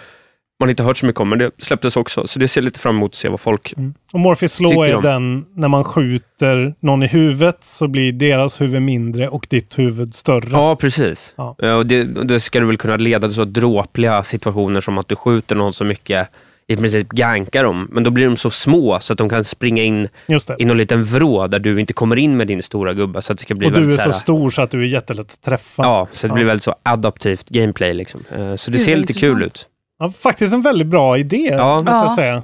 S3: man inte hört så mycket om, men det släpptes också. Så det ser jag lite fram emot att se vad folk...
S2: Och Morpheus Law
S3: Tycker
S2: är
S3: de.
S2: den, när man skjuter någon i huvudet så blir deras huvud mindre och ditt huvud större.
S3: Ja, precis.
S2: Ja.
S3: Eh, Och det, och det ska det väl kunna leda till så dråpliga situationer som att du skjuter någon så mycket, i princip gankar dem, men då blir de så små så att de kan springa in
S2: Just det.
S3: i någon liten vrå där du inte kommer in med din stora gubbe, så att det ska bli
S2: Och du är
S3: väldigt
S2: så
S3: här-
S2: stor så att du är jättelätt att träffa.
S3: Ja, så det
S2: Ja.
S3: blir väldigt så adaptivt gameplay liksom. Eh, Så det
S4: Gud,
S3: ser
S4: vad
S3: lite kul ut.
S4: intressant.
S2: Ja, faktiskt en väldigt bra idé,
S3: Ja.
S2: måste
S4: Ja.
S2: jag säga.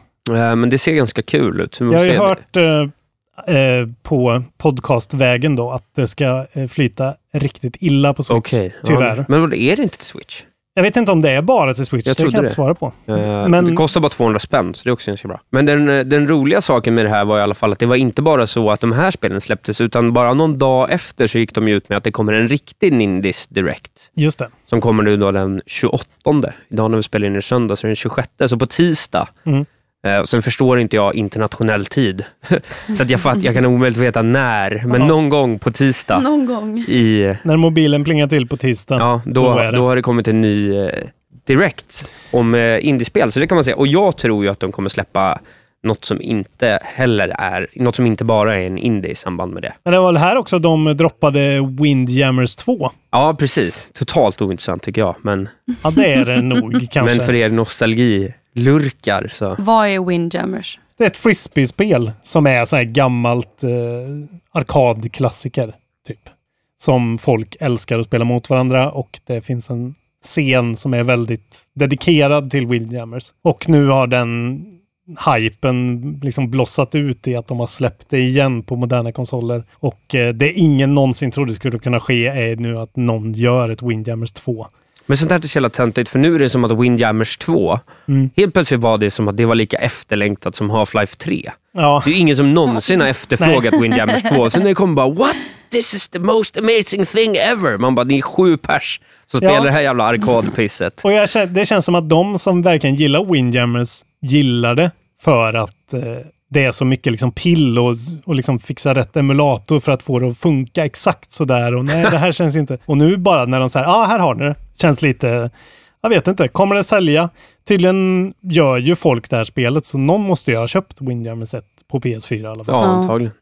S3: Eh, Men det ser ganska kul ut. Vi får
S2: Jag har ju
S3: se.
S2: hört eh, eh, på podcastvägen då att det ska eh, flyta riktigt illa på Switch.
S3: Okej. ja.
S2: Tyvärr.
S3: Men vad är det inte till Switch?
S2: Jag vet inte om det är bara till Switch.
S3: Jag
S2: det kan
S3: trodde
S2: jag
S3: det.
S2: inte svara på.
S3: Eh,
S2: Men-
S3: Det kostar bara 200 spänn, så det är också ganska bra. Men den, eh, den roliga saken med det här var i alla fall att det var inte bara så att de här spelen släpptes, utan bara någon dag efter så gick de ju ut med att det kommer en riktig Nindis Direct,
S2: Just det.
S3: som kommer nu då den 28. Idag när vi spelar in i söndag, så är det den 26, så på tisdag.
S2: Mm.
S3: Eh, och sen förstår inte jag internationell tid, [LAUGHS] så att jag, fatt, jag kan omöjligt veta när, men
S2: Ja.
S3: någon gång på tisdag
S4: Någon gång.
S3: i
S2: När mobilen plingar till på tisdag.
S3: Ja, då,
S2: Då
S3: då,
S2: är det.
S3: har det kommit en ny eh, Direct om eh, indiespel, så det kan man säga. Och jag tror ju att de kommer släppa något som inte heller är, något som inte bara är en indie i samband med det.
S2: Men det var väl här också de droppade Windjammers 2.
S3: Ja, precis. Totalt ointressant tycker jag, men,
S2: Ja, det är det nog kanske.
S3: [LAUGHS] men för er nostalgilurkar så...
S4: Vad är Windjammers?
S2: Det är ett frisbeespel som är så här gammalt eh, arkadklassiker. Typ. Som folk älskar att spela mot varandra och det finns en scen som är väldigt dedikerad till Windjammers. Och nu har den hypen liksom blossat ut i att de har släppt det igen på moderna konsoler. Och eh, det ingen någonsin trodde skulle kunna ske är nu att någon gör ett Windjammers 2.
S3: Men sånt här är så jävla töntigt, för nu är det som att Windjammers 2,
S2: Mm.
S3: helt plötsligt var det som att det var lika efterlängtat som Half-Life 3.
S2: Ja,
S3: Det är ju ingen som någonsin har efterfrågat Windjammers
S2: [LAUGHS]
S3: 2. Sen när det kom bara “What? This is the most amazing thing ever!” Man bara, ni är sju pers som
S2: Ja.
S3: spelar det här jävla arkadpisset.
S2: och jag, kän- det känns som att de som verkligen gillar Windjammers gillar det för att eh, det är så mycket liksom pill och, och liksom fixa rätt emulator för att få det att funka exakt sådär. Och nej, det här känns inte... Och nu bara när de säger ja, ah, här har ni det. Känns lite... Jag vet inte, kommer det sälja? Tydligen gör ju folk det här spelet, så någon måste ju ha köpt Windjammers 1 på PS4 i alla fall.
S3: Ja, antagligen.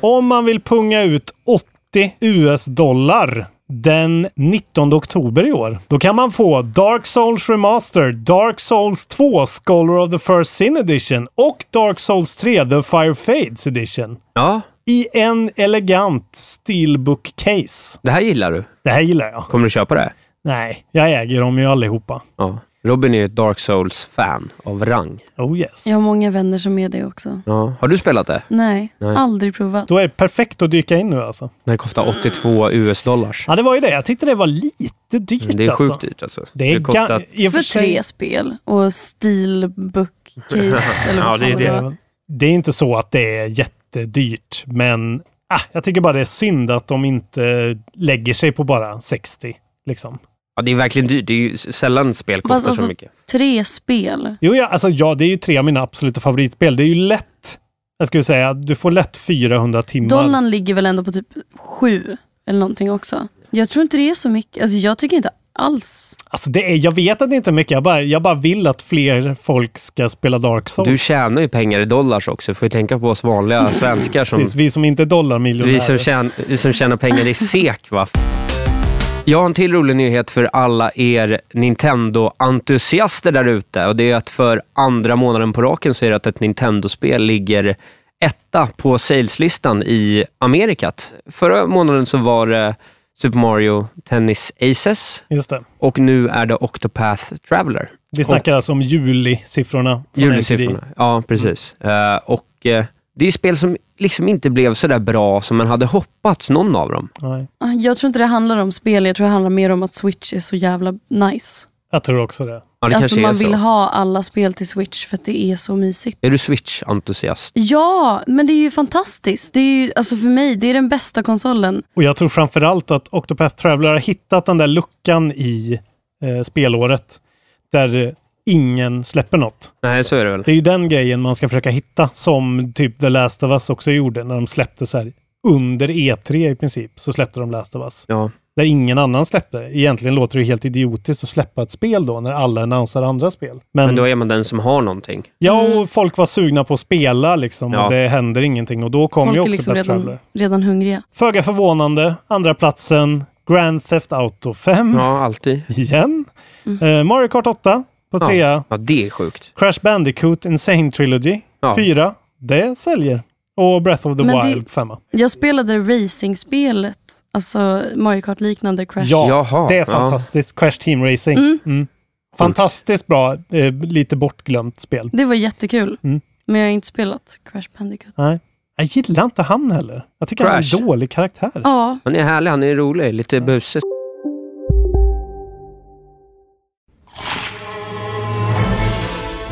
S2: Om man vill punga ut 80 US-dollar den 19 oktober i år, då kan man få Dark Souls Remaster, Dark Souls 2 Scholar of the First Sin Edition och Dark Souls 3 The Fire Fades Edition
S3: Ja,
S2: i en elegant steelbook case.
S3: det här gillar du.
S2: Det här gillar jag.
S3: Kommer du köpa det?
S2: Nej, jag äger dem ju allihopa.
S3: Ja. Robin är ju ett Dark Souls-fan av rang.
S2: Oh yes.
S4: Jag har många vänner som är det också.
S3: Ja. Har du spelat det?
S4: Nej, aldrig provat.
S2: Då är det perfekt att dyka in nu alltså.
S3: När det kostar 82 US-dollars.
S2: Ja, det var ju det. Jag tyckte det var lite dyrt
S3: Mm, Det är
S2: Ah, alltså.
S3: sjukt dyrt alltså.
S2: Det är
S3: kostar...
S2: ga- i och
S4: För
S2: sig-
S4: tre spel och steelbook case
S3: [LAUGHS]
S4: eller
S3: Ja,
S4: vad
S3: det är
S4: fan
S3: det.
S4: var.
S2: Det är inte så att det är jättedyrt, men ah, jag tycker bara det är synd att de inte lägger sig på bara 60. Liksom.
S3: Ja, det är verkligen dyrt. Det är ju sällan spel kostar
S4: Fast
S3: så
S4: alltså-
S3: mycket.
S4: Tre spel.
S2: Jo, ja, alltså, ja, det är ju tre av mina absoluta favoritspel. Det är ju lätt, jag skulle säga, du får lätt 400 timmar.
S4: Dollarn ligger väl ändå på typ sju eller någonting också. Jag tror inte det är så mycket. Alltså jag tycker inte alls.
S2: Alltså, det är, jag vet att det inte är mycket, jag bara, jag bara vill att fler folk ska spela Dark Souls.
S3: Du tjänar ju pengar i dollars också. Får ju tänka på oss
S2: [LAUGHS]
S3: vanliga svenskar som
S2: Precis, vi som inte är dollarmiljonärer.
S3: Vi som, tjän, vi som tjänar pengar i SEK va? Jag har en till rolig nyhet för alla er Nintendo-entusiaster där ute och det är att för andra månaden på raken så är det att ett Nintendo-spel ligger etta på saleslistan i Amerikat. Förra månaden så var det Super Mario Tennis Aces
S2: Just det.
S3: och nu är det Octopath Traveler.
S2: Vi snackar alltså om julisiffrorna. från NPD.
S3: Julisiffrorna, ja precis. Eh, och eh, det är spel som liksom inte blev så där bra som man hade hoppats, någon av dem.
S2: Nej,
S4: Ah, Jag tror inte det handlar om spel. Jag tror det handlar mer om att Switch är så jävla nice.
S2: jag tror också det.
S3: Ja, det
S4: alltså
S3: kanske
S4: man
S3: är så.
S4: vill ha alla spel till Switch för att det är så mysigt.
S3: Är du Switch-entusiast?
S4: Ja, men det är ju fantastiskt. Det är ju, alltså för mig, det är den bästa konsolen.
S2: Och jag tror framförallt att Octopath Traveler har hittat den där luckan i eh, spelåret där eh, ingen släpper något.
S3: Nej, så är det väl.
S2: Det är ju den grejen man ska försöka hitta som typ The Last of Us också gjorde när de släppte så här under E3 i princip så släppte de Last of Us.
S3: Ja.
S2: Där ingen annan släppte. Egentligen låter det ju helt idiotiskt att släppa ett spel då när alla annonserar andra spel. Men,
S3: Men då är man den som har någonting.
S2: ja, och folk var sugna på att spela liksom
S3: Ja.
S2: och det händer ingenting och då kom
S4: Folk
S2: ju
S4: är
S2: Octopath
S4: liksom
S2: Traveler.
S4: redan, redan hungriga.
S2: Föga förvånande, andra platsen Grand Theft Auto 5
S3: Ja, alltid.
S2: igen.
S4: Mhm.
S2: Eh, Mario Kart 8 på
S3: Ja.
S2: trea.
S3: Ja, det är sjukt.
S2: Crash Bandicoot Insane Trilogy
S3: Ja.
S2: fyra. Det säljer. Och Breath of the
S4: Men det-
S2: Wild femma.
S4: Jag spelade racingspelet, alltså Mario Kart-liknande Crash.
S2: Ja,
S3: Jaha,
S2: det är
S3: ja.
S2: fantastiskt. Crash Team Racing. Mm. Fantastiskt bra, eh, lite bortglömt spel.
S4: Det var jättekul.
S2: Mm.
S4: Men jag har inte spelat Crash Bandicoot.
S2: Nej. Jag gillar inte han heller. Jag tycker han är
S3: Crash.
S2: en dålig karaktär.
S4: Ja,
S3: Han är härlig, han är rolig, lite
S4: Mm.
S3: busig.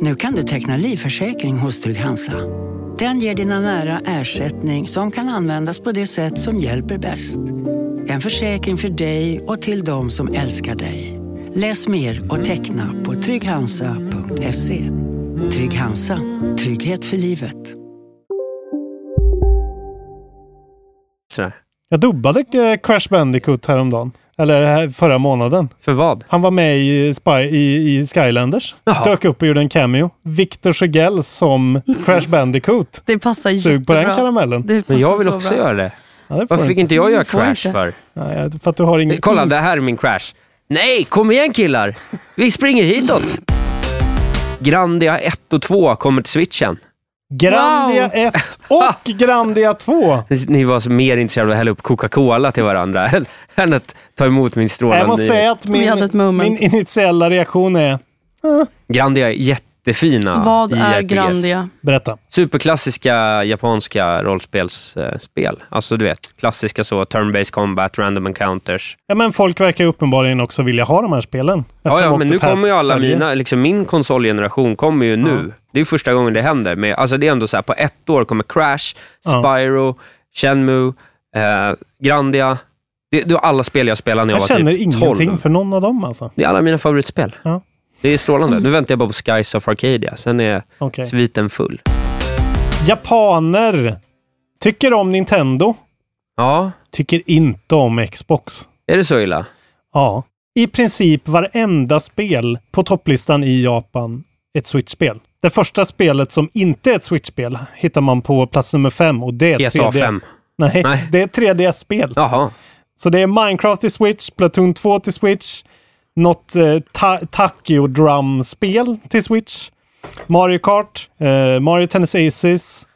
S5: Nu kan du teckna livförsäkring hos Trygg-Hansa. Den ger dina nära ersättning som kan användas på det sätt som hjälper bäst. En försäkring för dig och till de som älskar dig. Läs mer och teckna på trygghansa.se. Trygg-Hansa. Trygghet för livet.
S3: Sådär.
S2: Jag dubbade eh, Crash Bandicoot häromdagen. Eller här- förra månaden.
S3: För vad?
S2: Han var med i, Spy, i, i Skylanders.
S3: Jaha.
S2: Dök upp och gjorde en cameo. Victor Segell som Crash Bandicoot.
S4: Det passar
S2: Sug på den
S4: jättebra.
S2: karamellen.
S4: Det Men passar
S3: jag vill så också bra. göra det. Varför fick inte jag
S4: Mm,
S3: göra Crash för?
S2: Nej, för att du har ingen...
S3: Kolla, det här är min Crash. Nej, kom igen killar! Vi springer hitåt! Grandia 1 och 2 kommer till switchen.
S2: Grandia
S3: Wow.
S2: 1
S3: [LAUGHS]
S2: och Grandia 2!
S3: Ni var så mer intresserade av att hälla upp Coca-Cola till varandra [LAUGHS] än- än att ta emot min strålande
S2: Jag måste
S3: nyhet.
S2: säga att
S4: Vi hade
S2: min,
S4: ett moment.
S2: min initiella reaktion är... "Ah."
S3: Grandia är jättefina
S4: Vad
S3: i
S4: är
S3: RPGs.
S4: Grandia?
S2: Berätta.
S3: Superklassiska japanska rollspelsspel. Alltså du vet, klassiska så, turn-based combat, random encounters.
S2: Ja, men folk verkar ju uppenbarligen också vilja ha de här spelen.
S3: Ja,
S2: Eftersom
S3: ja, men nu
S2: Octopath
S3: kommer ju alla
S2: säljer.
S3: mina, liksom min konsolgeneration kommer ju nu. Det är ju första gången det händer. Men alltså det är ändå så här, på ett år kommer Crash,
S2: Ja.
S3: Spyro, Shenmue, eh, Grandia. Det, det var alla spel jag spelade när jag,
S2: Jag
S3: var
S2: känner
S3: typ 12.
S2: ingenting för någon av dem alltså.
S3: Det är alla mina favoritspel.
S2: Ja. Mm.
S3: Det är strålande. Nu väntar jag bara på Skies of Arcadia. Sen är
S2: Okej.
S3: sviten full.
S2: Japaner tycker om Nintendo,
S3: Ja,
S2: tycker inte om Xbox.
S3: är det så illa?
S2: Ja. I princip varenda spel på topplistan i Japan är ett Switch-spel. Det första spelet som inte är ett Switch-spel hittar man på plats nummer fem och det är
S3: GTA 5.
S2: 3DS. Nej,
S3: Nej.
S2: det är 3DS-spel.
S3: Jaha.
S2: Så det är Minecraft till Switch, Platoon 2 till Switch, något eh, ta Tachyo Drum-spel till Switch, Mario Kart, eh, Mario Tennis Aces,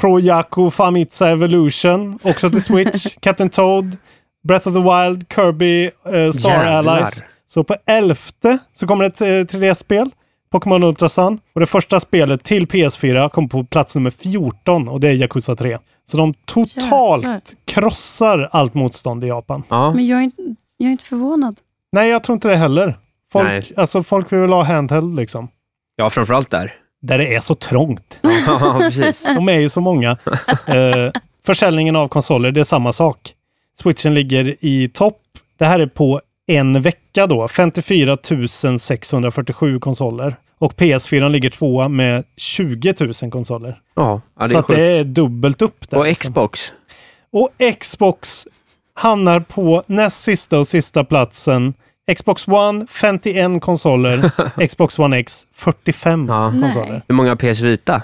S2: Pro Yaku Famitsa Evolution, också till Switch, Captain Toad, Breath of the Wild, Kirby, eh, Star
S3: Jävlar.
S2: Allies. Så på elfte så kommer ett eh, 3D-spel, Pokémon Ultra Sun. Och det första spelet till PS4 kom på plats nummer 14 och det är Yakuza 3. Så de totalt
S4: Jäklar.
S2: krossar allt motstånd i Japan.
S3: Ja.
S4: Men jag är, inte, jag är inte förvånad.
S2: Nej, jag tror inte det heller. Folk,
S3: Nej.
S2: alltså, folk vill väl ha handheld liksom.
S3: ja, framförallt där. [LAUGHS]
S2: Där det är så trångt.
S3: Ja, precis.
S2: De är ju
S3: [LAUGHS]
S2: så många. Eh, försäljningen av konsoler, det är samma sak. Switchen ligger i topp. Det här är på en vecka då. 54 647 konsoler. Och PS4 ligger tvåa med 20 000 konsoler.
S3: Ja, ja det
S2: så
S3: är
S2: att det
S3: sjukt.
S2: är dubbelt upp. Där,
S3: Och
S2: liksom.
S3: Xbox.
S2: Och Xbox hamnar på näst sista och sista platsen. Xbox One 51
S3: [LAUGHS]
S2: konsoler, Xbox One X 45
S3: Ja.
S2: konsoler.
S3: Hur många PS Vita?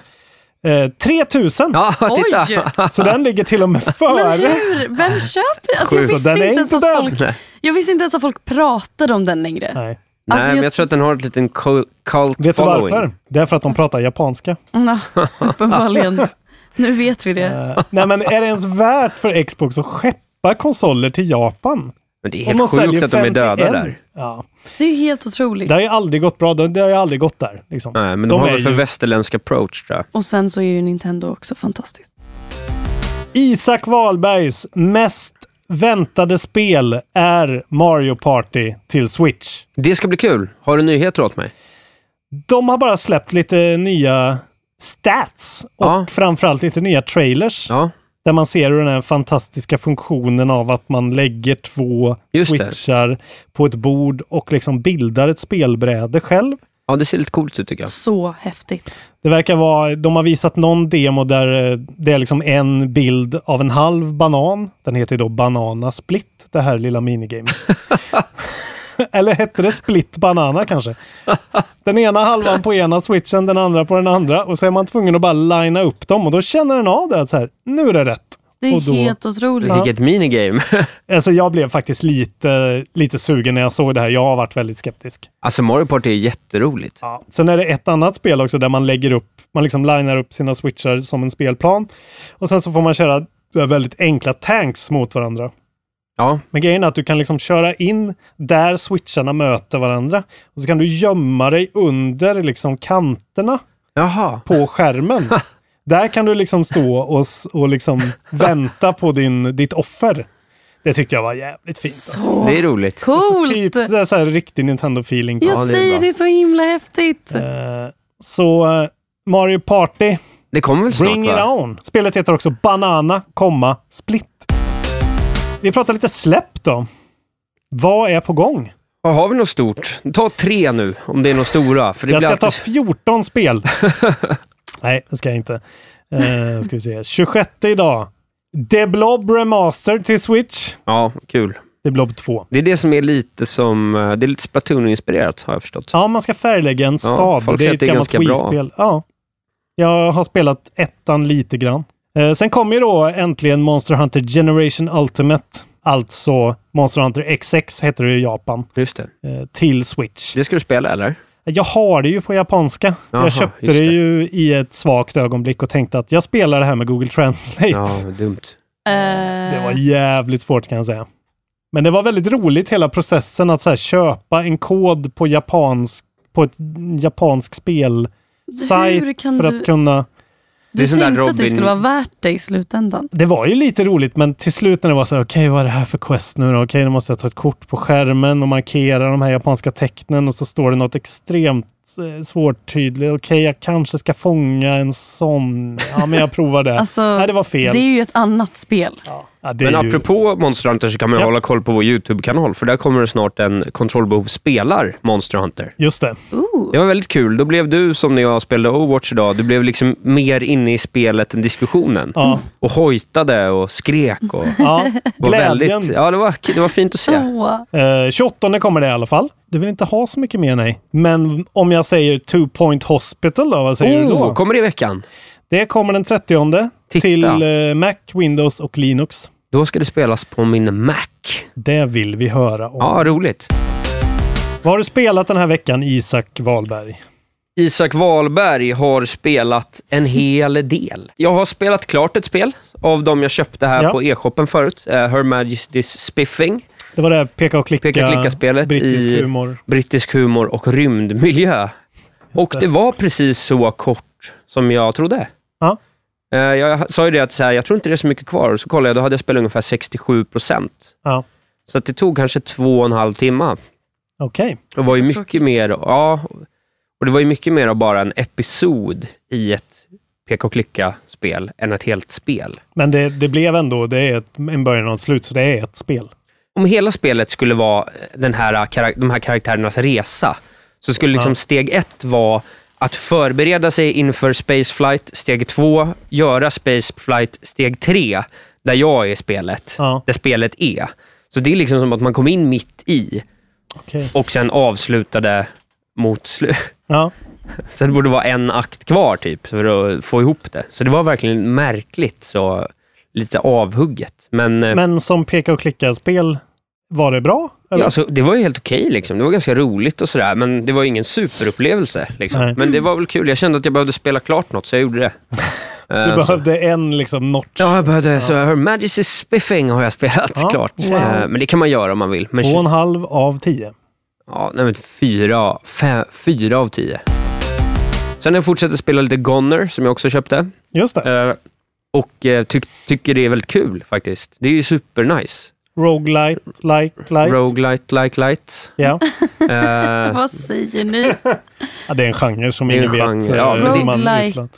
S2: Eh, 3000!
S3: Ja, [LAUGHS] titta!
S4: Oj!
S2: Så den ligger
S3: [LAUGHS]
S2: till och med
S4: Men
S2: före.
S4: hur? Vem köper? Alltså, jag,
S2: Sjukt.
S4: visste
S2: Den är inte
S4: inte ens att
S2: död.
S4: folk,
S3: Nej,
S4: jag visste inte ens att folk pratade om den längre.
S2: Nej.
S4: Alltså,
S3: Nej, men
S4: jag-
S3: jag tror att den har ett liten cu- cult
S2: Vet du
S3: following.
S2: varför? Det är för att de pratar japanska.
S4: Nå, uppenbarligen. Nu vet vi det.
S2: Eh, nej men är det ens värt för Xbox att skeppa konsoler till Japan?
S3: Men det är
S2: Om de
S3: helt
S2: säljer
S3: sjukt att de är döda
S2: 51.
S3: där.
S2: Ja.
S4: Det är ju helt otroligt.
S2: Det har ju aldrig gått bra. Det det har ju aldrig gått där. Liksom.
S3: Nej, men de, har
S2: är
S3: väl för
S2: ju-
S3: västerländsk approach tror jag.
S4: Och sen så är ju Nintendo också fantastiskt.
S2: Isak Wahlbergs mest väntade spel är Mario Party till Switch.
S3: Det ska bli kul. Har du nyheter åt mig?
S2: De har bara släppt lite nya stats och
S3: Ja.
S2: framförallt lite nya trailers.
S3: Ja,
S2: Där man ser hur den här fantastiska funktionen av att man lägger två
S3: Just det.
S2: switchar på ett bord och liksom bildar ett spelbräde själv.
S3: ja det ser lite coolt ut tycker jag.
S4: Så häftigt.
S2: Det verkar vara, de har visat någon demo där eh, det är liksom en bild av en halv banan. Den heter ju då Banana Split, det här lilla minigamet. Eller hette det Split Banana kanske? Den ena halvan på ena switchen, den andra på den andra och så är man tvungen att bara linea upp dem och då känner den av det att så här, nu är det rätt.
S4: Det är
S2: Och då-
S4: helt otroligt.
S3: Vilket minigame. [LAUGHS]
S2: Alltså jag blev faktiskt lite, lite sugen när jag såg det här. Jag har varit väldigt skeptisk.
S3: alltså Mario Party är jätteroligt.
S2: Ja. Sen är det ett annat spel också där man lägger upp, man liksom linar upp sina switchar som en spelplan. Och sen så får man köra eh, väldigt enkla tanks mot varandra.
S3: Ja,
S2: Men grejen är att du kan liksom köra in där switcharna möter varandra. Och så kan du gömma dig under liksom kanterna
S3: jaha.
S2: på skärmen. där kan du liksom stå och, s- och liksom vänta på din, ditt offer. Det tyckte jag var jävligt fint. alltså.
S4: Så
S3: Det är roligt.
S4: coolt!
S2: Typ det är så här riktig Nintendo-feeling.
S4: Jag
S3: Ja, det är
S4: säger
S3: bra.
S4: det är så himla häftigt.
S2: Eh, så eh, Mario Party,
S3: Det kommer väl snart
S2: Bring it
S3: va?
S2: on! Spelet heter också Banana, komma, Split. Vi pratar lite släpp då. Vad är på gång?
S3: Ja, har vi något stort? Ta tre nu, om det är något stora. För det
S2: Jag
S3: blir
S2: ska ta
S3: alltid... [LAUGHS]
S2: 14 spel. Nej, det ska jag inte. Uh, ska vi se. 26 idag. The Blob Remaster till Switch.
S3: Ja, kul.
S2: Det är Blob 2.
S3: Det är det som är lite som, eh, det är lite Splatoon-inspirerat har jag förstått.
S2: Ja, man ska färglägga en stad.
S3: folk
S2: det
S3: säger att
S2: är ett
S3: det är
S2: gammalt
S3: ganska bra.
S2: Wii-spel. Ja. Jag har spelat ettan lite grann. Eh, sen kom ju då äntligen Monster Hunter Generation Ultimate. Alltså Monster Hunter XX heter det i Japan. eh,
S3: Just det.
S2: till Switch.
S3: Det ska du spela eller?
S2: Jag har det ju på japanska.
S3: Jaha,
S2: jag köpte
S3: just
S2: det.
S3: det.
S2: ju i ett svagt ögonblick och tänkte att jag spelar det här med Google Translate.
S3: Ja, dumt.
S2: Det
S4: Eh,
S2: var jävligt svårt kan jag säga. Men det var väldigt roligt hela processen att så här, köpa en kod på japansk på ett japansk spel
S4: Hur
S2: sajt
S4: kan
S2: för
S4: du-
S2: att kunna...
S4: Du tänkte att det skulle vara värt det i slutändan.
S2: Det var ju lite roligt men till slut när det var så här, okej vad är det här för quest nu då? Okej, nu måste jag ta ett kort på skärmen och markera de här japanska tecknen och så står det något extremt eh, svårtydligt. Okej, jag kanske ska fånga en sån. Ja, men jag provar det.
S4: [LAUGHS] Alltså,
S2: Nej, det var fel.
S4: Det är ju ett annat spel.
S2: Ja, det
S3: Men
S2: är ju-
S3: apropå Monster Hunter så kan man ju
S2: Ja.
S3: hålla koll på vår YouTube-kanal, för där kommer det snart en kontrollbehov spelar Monster Hunter.
S2: Just
S4: [LAUGHS]
S2: det.
S3: Det var väldigt kul. Då blev du, som när jag spelade Overwatch idag, du blev liksom mer inne i spelet än diskussionen.
S2: Ja.
S3: Och hojtade och skrek. Och
S2: Ja,
S3: var
S2: glädjen.
S3: väldigt, ja, det var, det var fint att se.
S2: Eh, 28 kommer det i alla fall. Du vill inte ha så mycket mer nej. Men om jag säger Two Point Hospital då, vad säger du
S3: Oh,
S2: då?
S3: kommer det i veckan?
S2: Det kommer den 30 till eh, Mac, Windows och Linux.
S3: Då ska det spelas på min Mac.
S2: Det vill vi höra om.
S3: Ja, roligt.
S2: Vad har du spelat den här veckan, Isak Wahlberg?
S3: Isak Wahlberg har spelat en hel del. Jag har spelat klart ett spel av de jag köpte här
S2: Ja.
S3: på e-shoppen förut. eh, Her Majesty's Spiffing.
S2: Det var det här peka och klicka,
S3: Peka-klicka-spelet
S2: brittisk
S3: i
S2: humor.
S3: brittisk humor och rymdmiljö. Och det var precis så kort som jag trodde.
S2: Ja.
S3: Eh, Jag sa ju det att så här, jag tror inte det är så mycket kvar. Så kollade jag, då hade jag spelat ungefär 67 procent.
S2: Ja,
S3: Så att det tog kanske två och en halv timme.
S2: okej.
S3: Det var ju mycket mer, ja, och det var ju mycket mer av bara en episod i ett peka och klicka-spel än ett helt spel.
S2: Men det, det blev ändå, det är ett, en början och ett slut, så det är ett spel.
S3: Om hela spelet skulle vara eh, den här, karak- de här karaktärernas resa, så skulle liksom
S2: Ja.
S3: steg ett vara att förbereda sig inför spaceflight, steg två, göra spaceflight, steg tre, där jag är i spelet, där spelet är. Så det är liksom som att man kom in mitt i
S2: Okej.
S3: och sen avslutade mot [LAUGHS] slut.
S2: Ja.
S3: Så det borde vara en akt kvar typ för att få ihop det. Så det var verkligen märkligt så lite avhugget. Men, eh,
S2: Men som peka och klicka-spel, var det bra?
S3: ja, alltså, det var ju helt okej liksom. Det var ganska roligt och sådär. Men det var ju ingen superupplevelse. Liksom.
S2: Nej.
S3: Men det var väl kul. Jag kände att jag behövde spela klart något så jag gjorde det.
S2: [LAUGHS] Du
S3: Eh, så,
S2: behövde en liksom notch.
S3: Ja, jag behövde. så Her Majesty's Spiffing har jag spelat
S2: Ja,
S3: klart.
S2: wow.
S3: Eh, men det kan man göra om man vill. Men,
S2: Två och en halv av tio.
S3: ja, nej, men fyra, fem, fyra av tio. Sen har jag fortsatt spela lite Goner som jag också köpte.
S2: Just det.
S3: Eh, och eh, tyck- tycker det är väldigt kul faktiskt. Det är ju supernice.
S2: Roguelite, like, like.
S3: Roguelite, like, light.
S2: Ja.
S3: Eh,
S4: Vad säger ni?
S2: ja, det är en genre som
S3: Det är en
S2: ingen vet.
S3: genre, ja,
S2: eh,
S3: men det-
S2: hur man
S4: Roguelike.
S2: uttalar.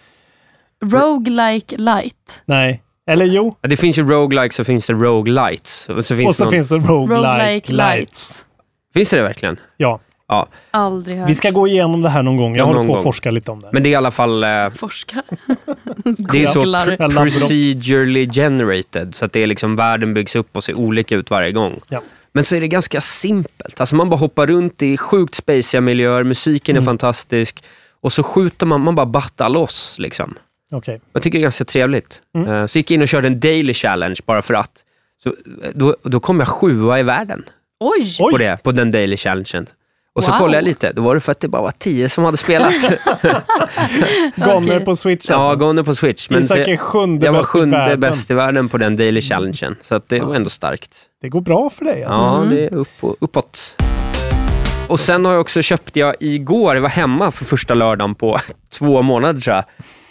S4: Roguelike light.
S2: Nej. Eller jo.
S3: det finns ju roguelikes och finns det roguelites. Och så finns,
S2: Och så
S3: någon-
S2: finns det roguelike,
S4: Roguelike
S2: light.
S4: lights.
S3: Finns det det verkligen?
S2: Ja.
S3: Ja.
S4: Aldrig hört.
S2: Vi ska gå igenom det här någon gång. Jag
S3: Ja,
S2: håller
S3: någon
S2: på att
S3: gång.
S2: forska lite om det.
S3: Men det är i alla fall... eh,
S2: [LAUGHS]
S4: Forskar.
S3: det är så
S4: Googlar.
S3: pr- procedurally generated, så att det är liksom världen byggs upp och ser olika ut varje gång.
S2: Ja.
S3: Men så är det ganska simpelt. Alltså man bara hoppar runt i sjukt spaciga miljöer, musiken
S2: Mm.
S3: är fantastisk och så skjuter man, man bara battar loss liksom.
S2: Okej.
S3: Jag tycker det är ganska trevligt.
S2: Mm.
S3: Eh, Så gick jag in och körde en daily challenge bara för att. Så, eh, då, då kom jag sjua i världen
S4: Oj!
S3: på, det, på den daily challengen. Och så
S4: Wow.
S3: kollade jag lite, då var det för att det bara var tio som hade
S2: [LAUGHS]
S3: spelat.
S2: Alltså. Goner på Switch
S3: ja,
S2: alltså.
S3: Goner på Switch. Men
S2: Isak
S3: så-
S2: är sjunde
S3: jag var
S2: bäst i
S3: sjunde
S2: världen.
S3: bäst i världen på den daily challengen. Så att det var ändå starkt.
S2: Det går bra för dig alltså.
S3: Ja, det är upp och, uppåt. Och sen har jag också köpt, jag igår, jag var hemma för första lördagen på [LAUGHS] två månader tror jag.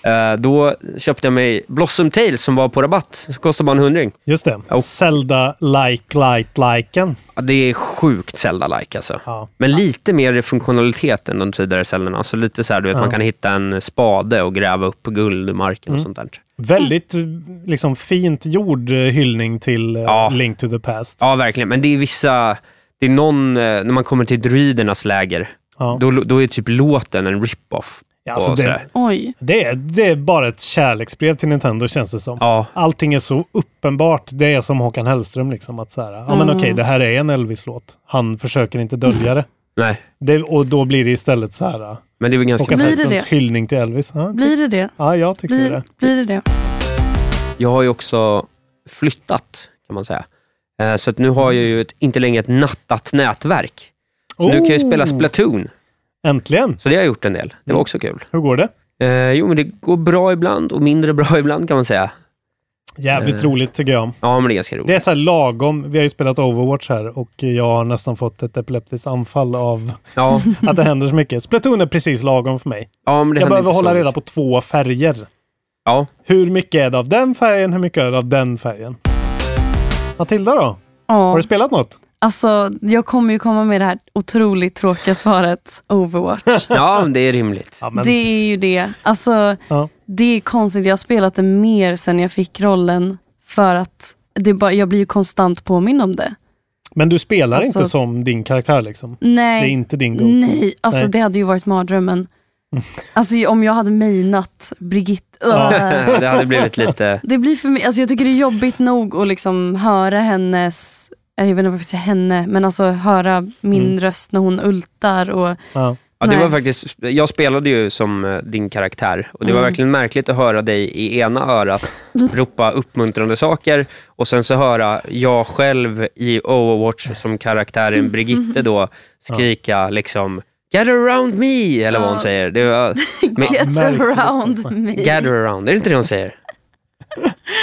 S3: Eh, Då köpte jag mig Blossom Tales som var på rabatt. Det kostade bara en hundring.
S2: Just det. Zelda like, like, liken.
S3: Ja, Det är sjukt Zelda-like alltså.
S2: Ja.
S3: Men lite mer funktionalitet än de tidigare Zeldorna. Så lite så här, du vet,
S2: Ja. Mm.
S3: man kan hitta en spade och gräva upp guld i marken och sånt där.
S2: Väldigt liksom fint gjord eh, hyllning till eh, Link to the Past.
S3: Ja, verkligen. Men det är vissa... Det är någon, eh, när man kommer till druidernas läger,
S2: Ja.
S3: då, då är typ låten en rip-off
S2: Ja, alltså
S3: och
S2: det,
S3: sådär.
S4: Oj.
S2: det, är, det är bara ett kärleksbrev till Nintendo känns det som. Allting är så uppenbart. Det är som Håkan Hellström liksom att så här, ja men
S3: Mm.
S2: okej det här är en Elvis-låt. Han försöker inte dölja det.
S3: Nej,
S2: det. Och då blir det istället så här,
S3: men det är väl ganska...
S2: Håkan
S4: Blir det
S2: Hellströms
S4: det?
S2: hyllning till Elvis. Ja,
S4: Blir det det?
S2: ja jag tycker
S4: Blir,
S2: det.
S4: blir det det?
S3: Jag har ju också flyttat, kan man säga. Eh, Så att nu har jag ju ett, inte längre ett nattat nätverk. Så Nu kan jag ju spela
S2: Oh. Mm.
S3: Splatoon.
S2: Äntligen!
S3: Så det har jag gjort en del. Det var också kul.
S2: Hur går det?
S3: Eh, jo, men det går bra ibland och mindre bra [LAUGHS] ibland kan man säga.
S2: Jävligt
S3: Eh.
S2: roligt tycker jag.
S3: Ja, men det är ganska roligt.
S2: Det är så här lagom. Vi har ju spelat Overwatch här och jag har nästan fått ett epileptiskt anfall
S4: [LAUGHS]
S2: av
S3: Ja.
S2: att det händer så mycket. Splatoon är precis lagom för mig.
S3: Ja, men det
S2: jag
S3: händer
S2: behöver
S3: inte så
S2: hålla
S3: mycket.
S2: reda på två färger.
S3: Ja.
S2: Hur mycket är det av den färgen? Hur mycket är det av den färgen? Matilda då?
S4: Ja.
S2: Har du spelat något?
S4: Alltså, jag kommer ju komma med det här otroligt tråkiga svaret. Overwatch. [LAUGHS]
S3: Ja, men det är rimligt.
S4: Det är ju det. Alltså,
S2: Ja.
S4: det är konstigt. Jag har spelat det mer sen jag fick rollen. För att det är bara, jag blir ju konstant påmind om det.
S2: Men du spelar
S4: Alltså-
S2: inte som din karaktär liksom?
S4: Nej.
S2: Det är inte din go
S4: Nej, alltså det hade ju
S2: [LAUGHS]
S4: varit mardrömmen. Alltså om jag hade mainat Brigitte.
S3: Ja, [LAUGHS]
S4: Öh.
S3: det hade
S2: [LAUGHS]
S3: blivit lite...
S4: Det blir för mig, alltså jag tycker det är jobbigt nog att liksom höra hennes, jag vet inte varför jag säger henne, men alltså höra min
S3: Mm.
S4: röst när hon ultar och
S2: Ja.
S3: Ja, det
S4: Nej.
S3: var faktiskt, jag spelade ju som eh, din karaktär och det var
S4: Mm.
S3: verkligen märkligt att höra dig i ena örat ropa uppmuntrande saker och sen så höra jag själv i Overwatch som karaktären Brigitte då skrika liksom Get around me, eller vad hon
S4: Ja.
S3: säger. Det
S4: [LAUGHS]
S3: var, men-
S2: [LAUGHS]
S4: Get around me.
S3: Gather around, är det inte det hon säger?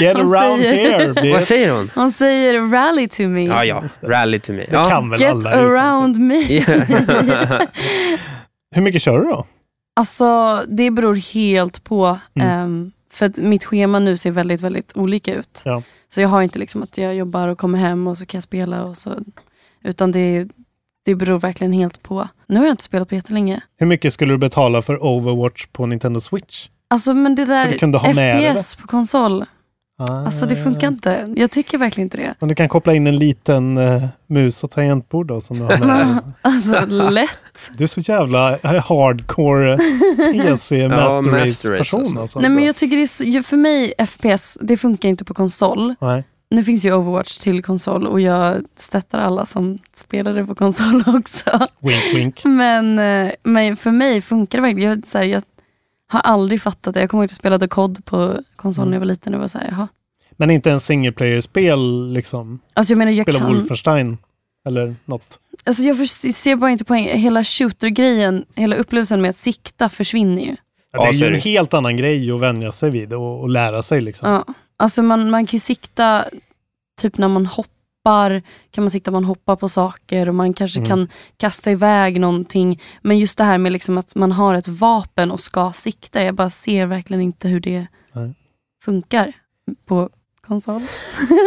S2: Get
S4: Hon
S2: around
S4: [LAUGHS]
S2: here! bitch.
S3: Vad säger hon?
S4: Hon säger rally to me.
S3: Ja, ja, rally to me.
S2: Det
S3: Ja.
S2: kan väl
S4: Get
S2: alla? utan-
S4: around me.
S2: Hur mycket kör du då?
S4: Alltså det beror helt på.
S2: Mm.
S4: ehm, för att mitt schema nu ser väldigt, väldigt olika ut.
S2: Ja.
S4: Så jag har inte liksom att jag jobbar och kommer hem och så kan jag spela och så. Utan det, det beror verkligen helt på. Nu har jag inte spelat på jättelänge.
S2: Hur mycket skulle du betala för Overwatch på Nintendo Switch?
S4: Alltså men det
S2: Så
S4: där
S2: du kunde ha med dig Ah.
S4: FPS på konsol. Alltså det funkar inte. Jag tycker verkligen inte det.
S2: Men du kan koppla in en liten eh, mus och tangentbord då som du har
S4: [LAUGHS]
S2: med dig. [LAUGHS]
S4: Alltså lätt.
S2: Du är så jävla hardcore
S4: [LAUGHS]
S2: eh, PC
S3: Ja,
S2: Master
S3: Master
S2: Race person
S3: Race,
S2: alltså.
S4: Nej men jag tycker det är så, ju- för mig FPS, det funkar inte på konsol.
S2: Nej.
S4: Nu finns ju Overwatch till konsol och jag stöttar alla som spelar det på konsol [LAUGHS] också.
S2: Wink wink.
S4: Men, eh, men för mig funkar det verkligen. Jag, så här, jag har aldrig fattat det. Jag kommer ihåg att jag spelade COD på konsol
S2: Mm.
S4: när jag var liten och var så här, jaha.
S2: Men inte en single player-spel liksom?
S4: Alltså jag menar jag
S2: Spela
S4: kan...
S2: Wolfenstein eller något?
S4: Alltså jag förs- ser bara inte poängen. Hela shooter-grejen, hela upplevelsen med att sikta försvinner ju.
S2: Ja, det är
S3: så
S2: ju
S3: är
S2: en
S3: det.
S2: helt annan grej att vänja sig vid och, och lära sig liksom.
S4: Ja. Alltså man, man kan ju sikta typ när man hoppar, kan man sikta man hoppar på saker och man kanske
S2: Mm.
S4: kan kasta iväg någonting. Men just det här med liksom att man har ett vapen och ska sikta, jag bara ser verkligen inte hur det
S2: Nej.
S4: funkar på konsol.
S3: [LAUGHS]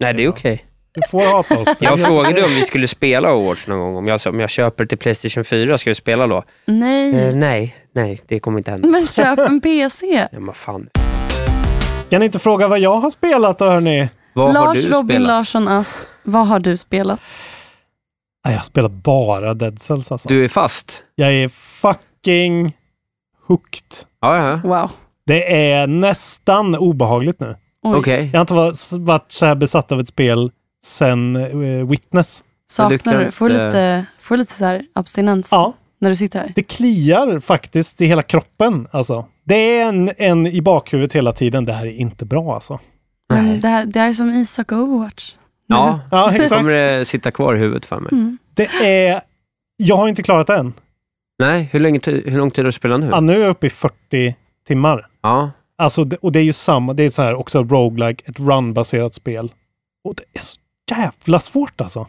S3: Nej, det är okej.
S2: Du får hata oss. Det
S3: [LAUGHS] Jag
S2: är helt
S3: frågade
S2: okej.
S3: om vi skulle spela Overwatch någon gång. Om jag, sa, om jag köper till Playstation 4, ska vi spela då?
S4: Nej,
S3: Eh, nej, nej, det kommer inte hända.
S4: men
S3: [LAUGHS]
S4: köp en PC.
S3: Nej, men fan.
S2: Kan ni inte fråga vad jag har spelat då hörni?
S3: Vad har
S4: Lars
S3: du
S4: Robin
S3: spelat?
S4: Larsson Asp, vad har du spelat?
S2: Nej, jag har spelat bara Dead Cells alltså.
S3: Du är fast?
S2: Jag är fucking hooked.
S3: Ja, ja.
S4: Wow.
S2: Det är nästan obehagligt nu.
S4: Oj.
S3: Okej.
S2: Jag har inte var- varit så här besatt av ett spel sen eh, Witness.
S3: luktar
S4: Saknar du?
S3: inte-
S4: Får du lite, får du lite så här abstinens
S2: Ja,
S4: när du sitter här?
S2: det kliar faktiskt i hela kroppen alltså. Det är en, en i bakhuvudet hela tiden. Det här är inte bra alltså.
S4: Men
S3: Nej.
S4: det, här, det här är som Isak och Overwatch.
S3: Ja,
S2: [LAUGHS] Ja,
S3: det
S2: exakt.
S3: kommer det sitta kvar i huvudet för mig.
S4: Mm.
S2: Det är... Jag har inte klarat det än.
S3: Nej, hur, länge, ti- hur lång tid har du spelat nu?
S2: Ja, nu är jag uppe i 40 timmar.
S3: ja.
S2: Alltså, det, och det är ju samma. Det är så här också roguelike, ett runbaserat spel. Och det är så jävla svårt alltså.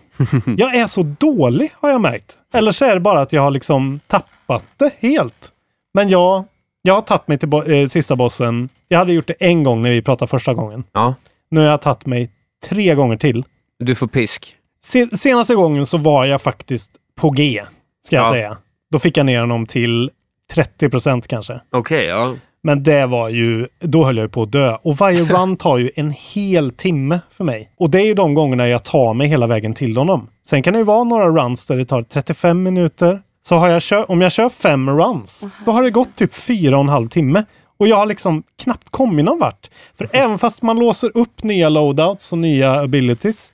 S2: Jag är så dålig har jag märkt. Eller så är det bara att jag har liksom tappat det helt. Men jag, jag har tagit mig till bo- eh, sista bossen. Jag hade gjort det en gång när vi pratade första gången.
S3: ja.
S2: Nu har jag tagit mig tre gånger till.
S3: Du får pisk.
S2: Se- senaste gången så var jag faktiskt på G, ska jag
S3: Ja.
S2: säga. Då fick jag ner honom till 30 procent kanske.
S3: Okej, ja. [LAUGHS]
S2: Men det var ju, då höll jag ju på att dö. Och varje run tar ju en hel timme för mig. Och det är ju de gångerna jag tar mig hela vägen till honom. Sen kan det ju vara några runs där det tar 35 minuter, Så har jag kö- om jag kör fem runs, då har det gått typ fyra och en halv timme. Och jag har liksom knappt kommit någon vart. För även fast man låser upp nya loadouts och nya abilities,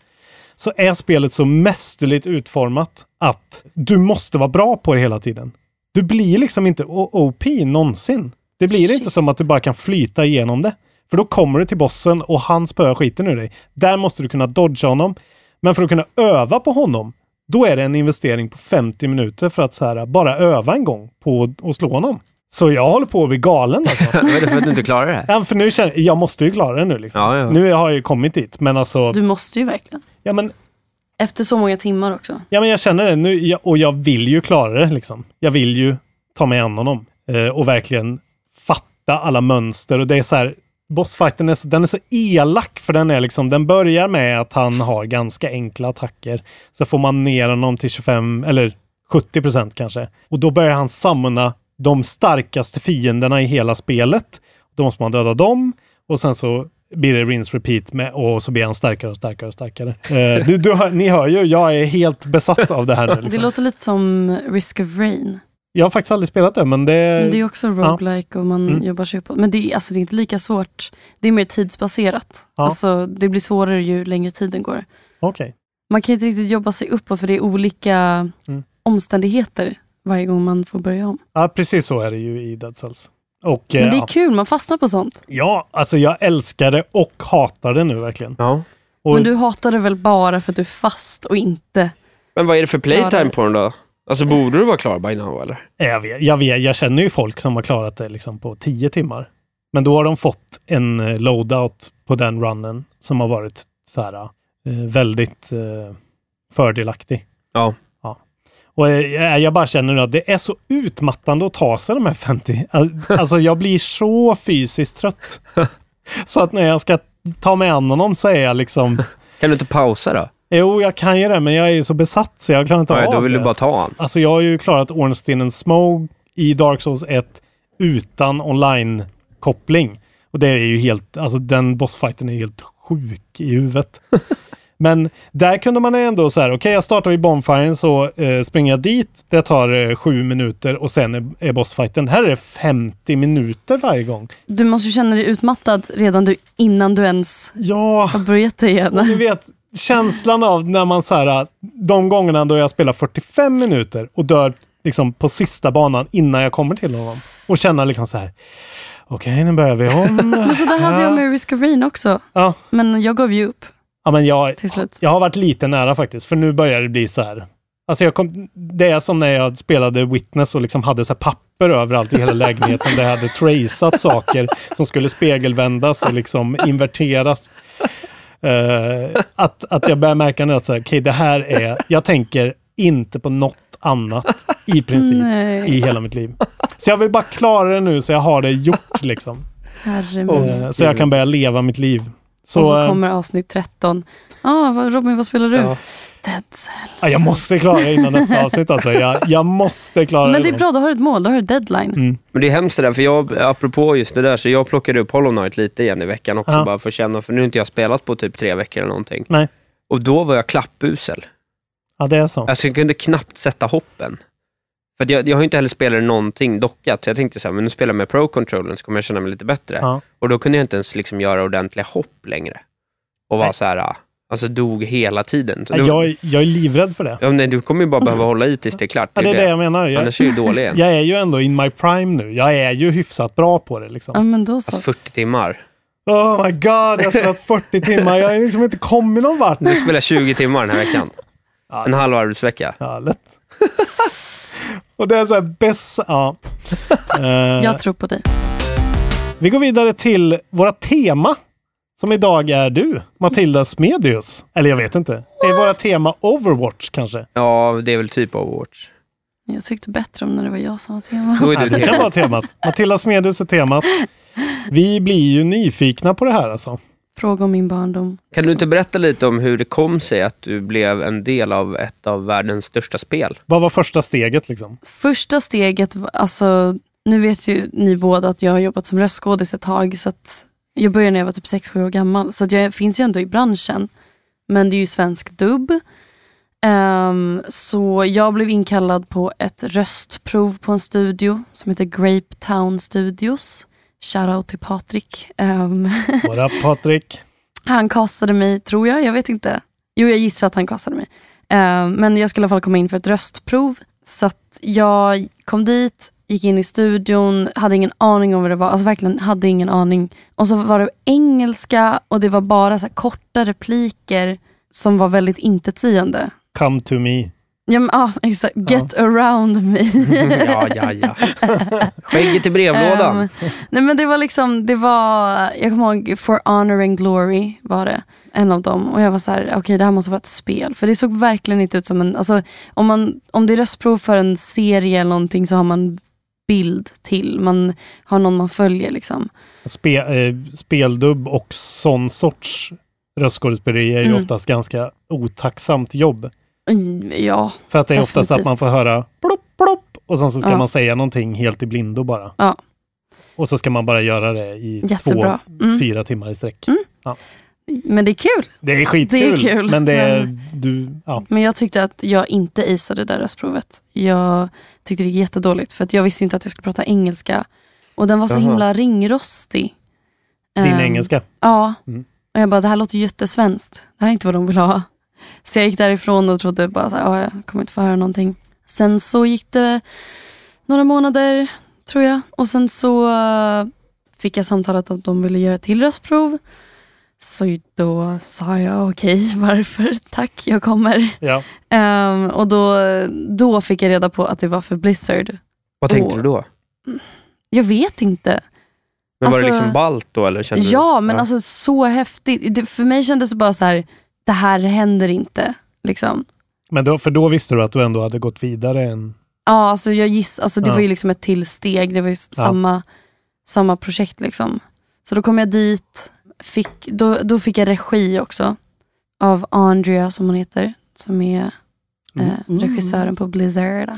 S2: så är spelet så mästerligt utformat att du måste vara bra på det hela tiden. Du blir liksom inte O- OP någonsin. Det blir inte som att du bara kan flyta igenom det. För då kommer du till bossen och han spöar skiten ur dig. Där måste du kunna dodga honom. Men för att kunna öva på honom, då är det en investering på 50 minuter för att så här, bara öva en gång på att slå honom. Så jag håller på att bli galen alltså.
S3: [LAUGHS] Vad är det för att du inte klarar det här?
S2: Ja, för nu känner jag, jag måste ju klara det nu liksom.
S3: Ja, ja.
S2: Nu har jag ju kommit dit, men alltså.
S4: Du måste ju verkligen.
S2: Ja, men...
S4: Efter så många timmar också.
S2: Ja, men jag känner det nu jag, och jag vill ju klara det. Liksom. Jag vill ju ta mig an honom eh, och verkligen fatta alla mönster. Och det är så här, bossfighten är, så- den är så elak för den är liksom, den börjar med att han har ganska enkla attacker. Så får man ner honom till 25 eller 70 procent kanske. Och då börjar han samla de starkaste fienderna i hela spelet. Då måste man döda dem och sen så blir det rinse repeat med, och så blir han starkare och starkare och starkare. Eh, du, du, hör- ni hör ju, jag är helt besatt av det här nu.
S4: [LAUGHS] Det
S2: Liksom.
S4: låter lite som Risk of Rain.
S2: Jag har faktiskt aldrig spelat det, men det...
S4: Men det är ju också roguelike och man
S2: Mm.
S4: jobbar sig uppåt. Men det är, alltså, det är inte lika svårt. Det är mer tidsbaserat.
S2: Ja.
S4: Alltså, det blir svårare ju längre tiden går.
S2: Okej.
S4: Man kan inte riktigt jobba sig uppåt för det är olika
S2: Mm.
S4: omständigheter varje gång man får börja om.
S2: Ja, precis så är det ju i Dead Cells. Och, eh,
S4: Men det
S2: ja.
S4: är kul, man fastnar på sånt.
S2: Ja, alltså jag älskar det och hatar det nu verkligen.
S3: Ja.
S2: Och,
S4: Men du hatar det väl bara för att du är fast och inte...
S3: Men vad är det för
S4: Klarar.
S3: playtime på den då? Alltså borde du vara klar by now eller?
S2: Eh, jag, vet, jag, vet, jag känner ju folk som har klarat det liksom på 10 timmar. Men då har de fått en eh, loadout på den runnen som har varit så här eh, väldigt eh, fördelaktig.
S3: Ja.
S2: ja. Och eh, jag bara känner att det är så utmattande att ta sig de här 50. [LAUGHS] Al- Alltså jag blir så fysiskt
S4: [LAUGHS]
S2: trött. Så att när jag ska ta mig an honom så är jag liksom
S3: Kan du inte pausa då?
S2: Jo, jag kan ju det, men jag är ju så besatt så jag klarar inte
S3: Nej,
S2: av
S3: då vill
S2: det.
S3: du bara ta han.
S2: Alltså jag har ju klarat Ornstein and Smoke i Dark Souls 1 utan online-koppling. Och det är ju helt, alltså den bossfighten är helt sjuk i
S3: [LAUGHS]
S2: huvudet. Men där kunde man ju ändå så här, okej jag startar vid Bonfiren så eh, springer jag dit, det tar eh, sju minuter och sen är, är bossfighten. Här är det 50 minuter varje gång.
S4: Du måste ju känna dig utmattad redan du, innan du ens
S2: Ja,
S4: har börjat det igen.
S2: Och ni vet känslan av när man så här, äh, de gångerna då jag spelar 45 minuter och dör liksom på sista banan innan jag kommer till honom. Och känna liksom så här, okej nu börjar vi om.
S4: Men så där hade jag med Risk of Rain också.
S2: Ja.
S4: Men jag gav ju upp.
S2: Ja, men jag,
S4: Till slut.
S2: jag har varit lite nära faktiskt, för nu börjar det bli så här. Alltså jag kom, det är som när jag spelade Witness och liksom hade så här papper överallt i hela lägenheten där jag hade traceat saker som skulle spegelvändas och liksom inverteras. Eh, att, att jag börjar märka nu att så här, okej, det här är, jag tänker inte på något annat i princip
S4: Nej.
S2: i hela mitt liv. Så jag vill bara klara det nu så jag har det gjort liksom.
S4: Herre min.
S2: Eh, så jag kan börja leva mitt liv. Så,
S4: och så
S2: eh,
S4: kommer avsnitt 13. Ah, vad, Robin, vad spelar du?
S2: Ja.
S4: Dead Cells.
S2: Ja, jag måste klara det innan nästa avsnitt alltså. Jag, jag måste klara
S4: Men det är
S2: då.
S4: bra, då har du ett mål, då har du deadline.
S2: Mm.
S3: Men det är hemskt det där, för jag, apropå just det där, så jag plockade upp Hollow Knight lite igen i veckan också
S2: Ja.
S3: bara för att känna, för nu har inte jag spelat på typ tre veckor eller någonting.
S2: Nej,
S3: Och då var jag klappusel.
S2: ja, det är så.
S3: Alltså jag kunde knappt sätta hoppen. För att jag, jag har ju inte heller spelat någonting dockat, så jag tänkte så här, men nu spelar jag med Pro-controllern så kommer jag känna mig lite bättre.
S2: Ja.
S3: Och då kunde jag inte ens liksom göra ordentliga hopp längre. Och var
S2: Nej.
S3: så här, ah, alltså dog hela tiden. Så
S2: Ja,
S3: då-
S2: Jag, jag är livrädd för det.
S3: Ja, men nej, du kommer ju
S2: [LAUGHS]
S3: bara behöva hålla i tills det är klart.
S2: Ja, det är det jag menar. Jag,
S3: Annars är du dålig igen.
S2: jag är ju ändå in my prime nu. Jag är ju hyfsat bra på det liksom.
S4: Ja, men då så.
S3: Alltså 40 timmar.
S2: Oh my god, jag har spelat 40 timmar. Jag har liksom inte kommit någon
S4: [LAUGHS]
S2: vart.
S3: Du spelar 20 timmar den här veckan.
S2: Ja.
S3: En halv arbetsvecka.
S2: Ja, lätt. Och det är så här bäst... Ja. Eh,
S4: Jag tror på dig.
S2: vi går vidare till våra tema. Som idag är du, Matilda Smedius. Eller jag vet inte. Är våra tema Overwatch kanske?
S3: Ja, det är väl typ Overwatch.
S4: Jag tyckte bättre om när det var jag som var tema.
S3: Då är
S2: Ja,
S3: du
S2: det kan
S3: det.
S2: vara temat. Matilda Smedhus är temat. Vi blir ju nyfikna på det här alltså.
S4: Fråga om min barndom.
S3: Kan du inte berätta lite om hur det kom sig att du blev en del av ett av världens största spel?
S2: Vad var första steget liksom?
S4: Första steget, var- alltså nu vet ju ni båda att jag har jobbat som röstskådis ett tag. Så att jag började när jag var typ 6-7 år gammal. Så att jag finns ju ändå i branschen. Men det är ju svensk dubb. Ehm, så jag blev inkallad på ett röstprov på en studio som heter Grape Town Studios. Shoutout till Patrik. Ehm, [LAUGHS]
S2: What up Patrik?
S4: han kastade mig, tror jag, jag vet inte. Jo, jag gissar att han kastade mig. Ehm, men jag skulle i alla fall komma in för ett röstprov. Så att jag kom dit, gick in i studion, hade ingen aning om vad det var. Alltså verkligen hade ingen aning. Och så var det engelska och det var bara så här korta repliker som var väldigt intetsägande.
S2: Come to me.
S4: Ja, men, ah, exakt. Get around me.
S3: ja, ja, ja. Skägget i brevlådan.
S4: Ehm, nej men det var liksom, det var, jag kommer ihåg For Honor and Glory var det. En av dem. Och jag var så här, okej det här måste vara ett spel. För det såg verkligen inte ut som en, alltså om, man, om det är röstprov för en serie eller någonting så har man bild till. Man har någon man följer liksom.
S2: Spe, eh, speldubb och sån sorts röstskådespeleri är ju
S4: Mm.
S2: oftast ganska otacksamt jobb.
S4: Mm, Ja,
S2: För att det är oftast att
S4: definitivt.
S2: man får höra plopp, plopp och sen så ska
S4: Ja.
S2: man säga någonting helt i blindo bara.
S4: Ja.
S2: Och så ska man bara göra det i
S4: Jättebra.
S2: två,
S4: Mm.
S2: fyra timmar i sträck. Ja.
S4: Men det är kul.
S2: Det är skitkul.
S4: Det är kul,
S2: Men det är,
S4: men-
S2: du, ja.
S4: Men jag tyckte att jag inte isade det där röstprovet. Jag tyckte det gick jättedåligt för att jag visste inte att jag skulle prata engelska. Och den var så
S2: Jaha.
S4: himla ringrostig.
S2: Din
S4: Ehm,
S2: engelska.
S4: Ja.
S2: Mm.
S4: Och jag bara, det här låter ju jättesvenskt. Det här är inte vad de vill ha. Så jag gick därifrån och trodde bara, så här, "Ja, jag kommer inte få höra någonting. Sen så gick det några månader, tror jag. Och sen så eh, fick jag samtalet att de ville göra ett till röstprov. Så då sa jag, okej, [LAUGHS] varför? Tack, jag kommer.
S2: Ja.
S4: Ehm, och då, då fick jag reda på att det var för Blizzard.
S3: Vad tänkte du då?
S4: Jag vet inte.
S3: Men var det
S4: Alltså-
S3: liksom balt då eller kände du?
S4: Ja, men alltså så häftigt. Det, för mig kändes det bara så här, det här händer inte. Liksom.
S2: Men då, för då visste du att du ändå hade gått vidare än...
S4: Ja, alltså jag giss, alltså det
S2: Ja.
S4: var ju liksom ett till steg. Det var ju s-
S2: Ja.
S4: samma, samma projekt. Liksom. Så då kom jag dit, fick, då, då fick jag regi också av Andrea, som hon heter, som är eh, regissören på Blizzard.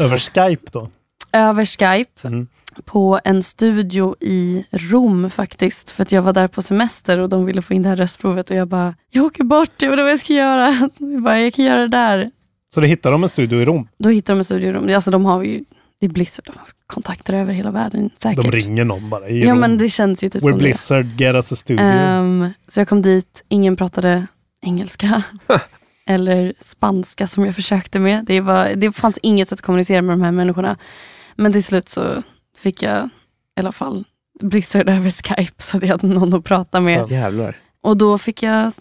S2: Över Skype då?
S4: Över Skype
S2: Mm.
S4: på en studio i Rom faktiskt. För att jag var där på semester och de ville få in det här röstprovet och jag bara, jag åker bort, jag vet inte vad jag ska göra. [LAUGHS] Jag, bara, jag kan göra det där.
S2: Så då hittade de en studio i Rom.
S4: Då hittar de en studio i Rom. Alltså de har ju, det är Blizzard, de har kontakter över hela världen säkert.
S2: De ringer någon bara i
S4: Ja
S2: Rom.
S4: men det känns ju typ
S2: We're
S4: som det.
S2: Blizzard, get us a studio.
S4: Ehm, så jag kom dit, ingen pratade engelska. eller spanska som jag försökte med. Det, var, det fanns inget sätt att kommunicera med de här människorna. Men till slut så fick jag i alla fall Blizzard över Skype så att jag hade någon att prata med.
S3: Jävlar.
S4: Och då fick jag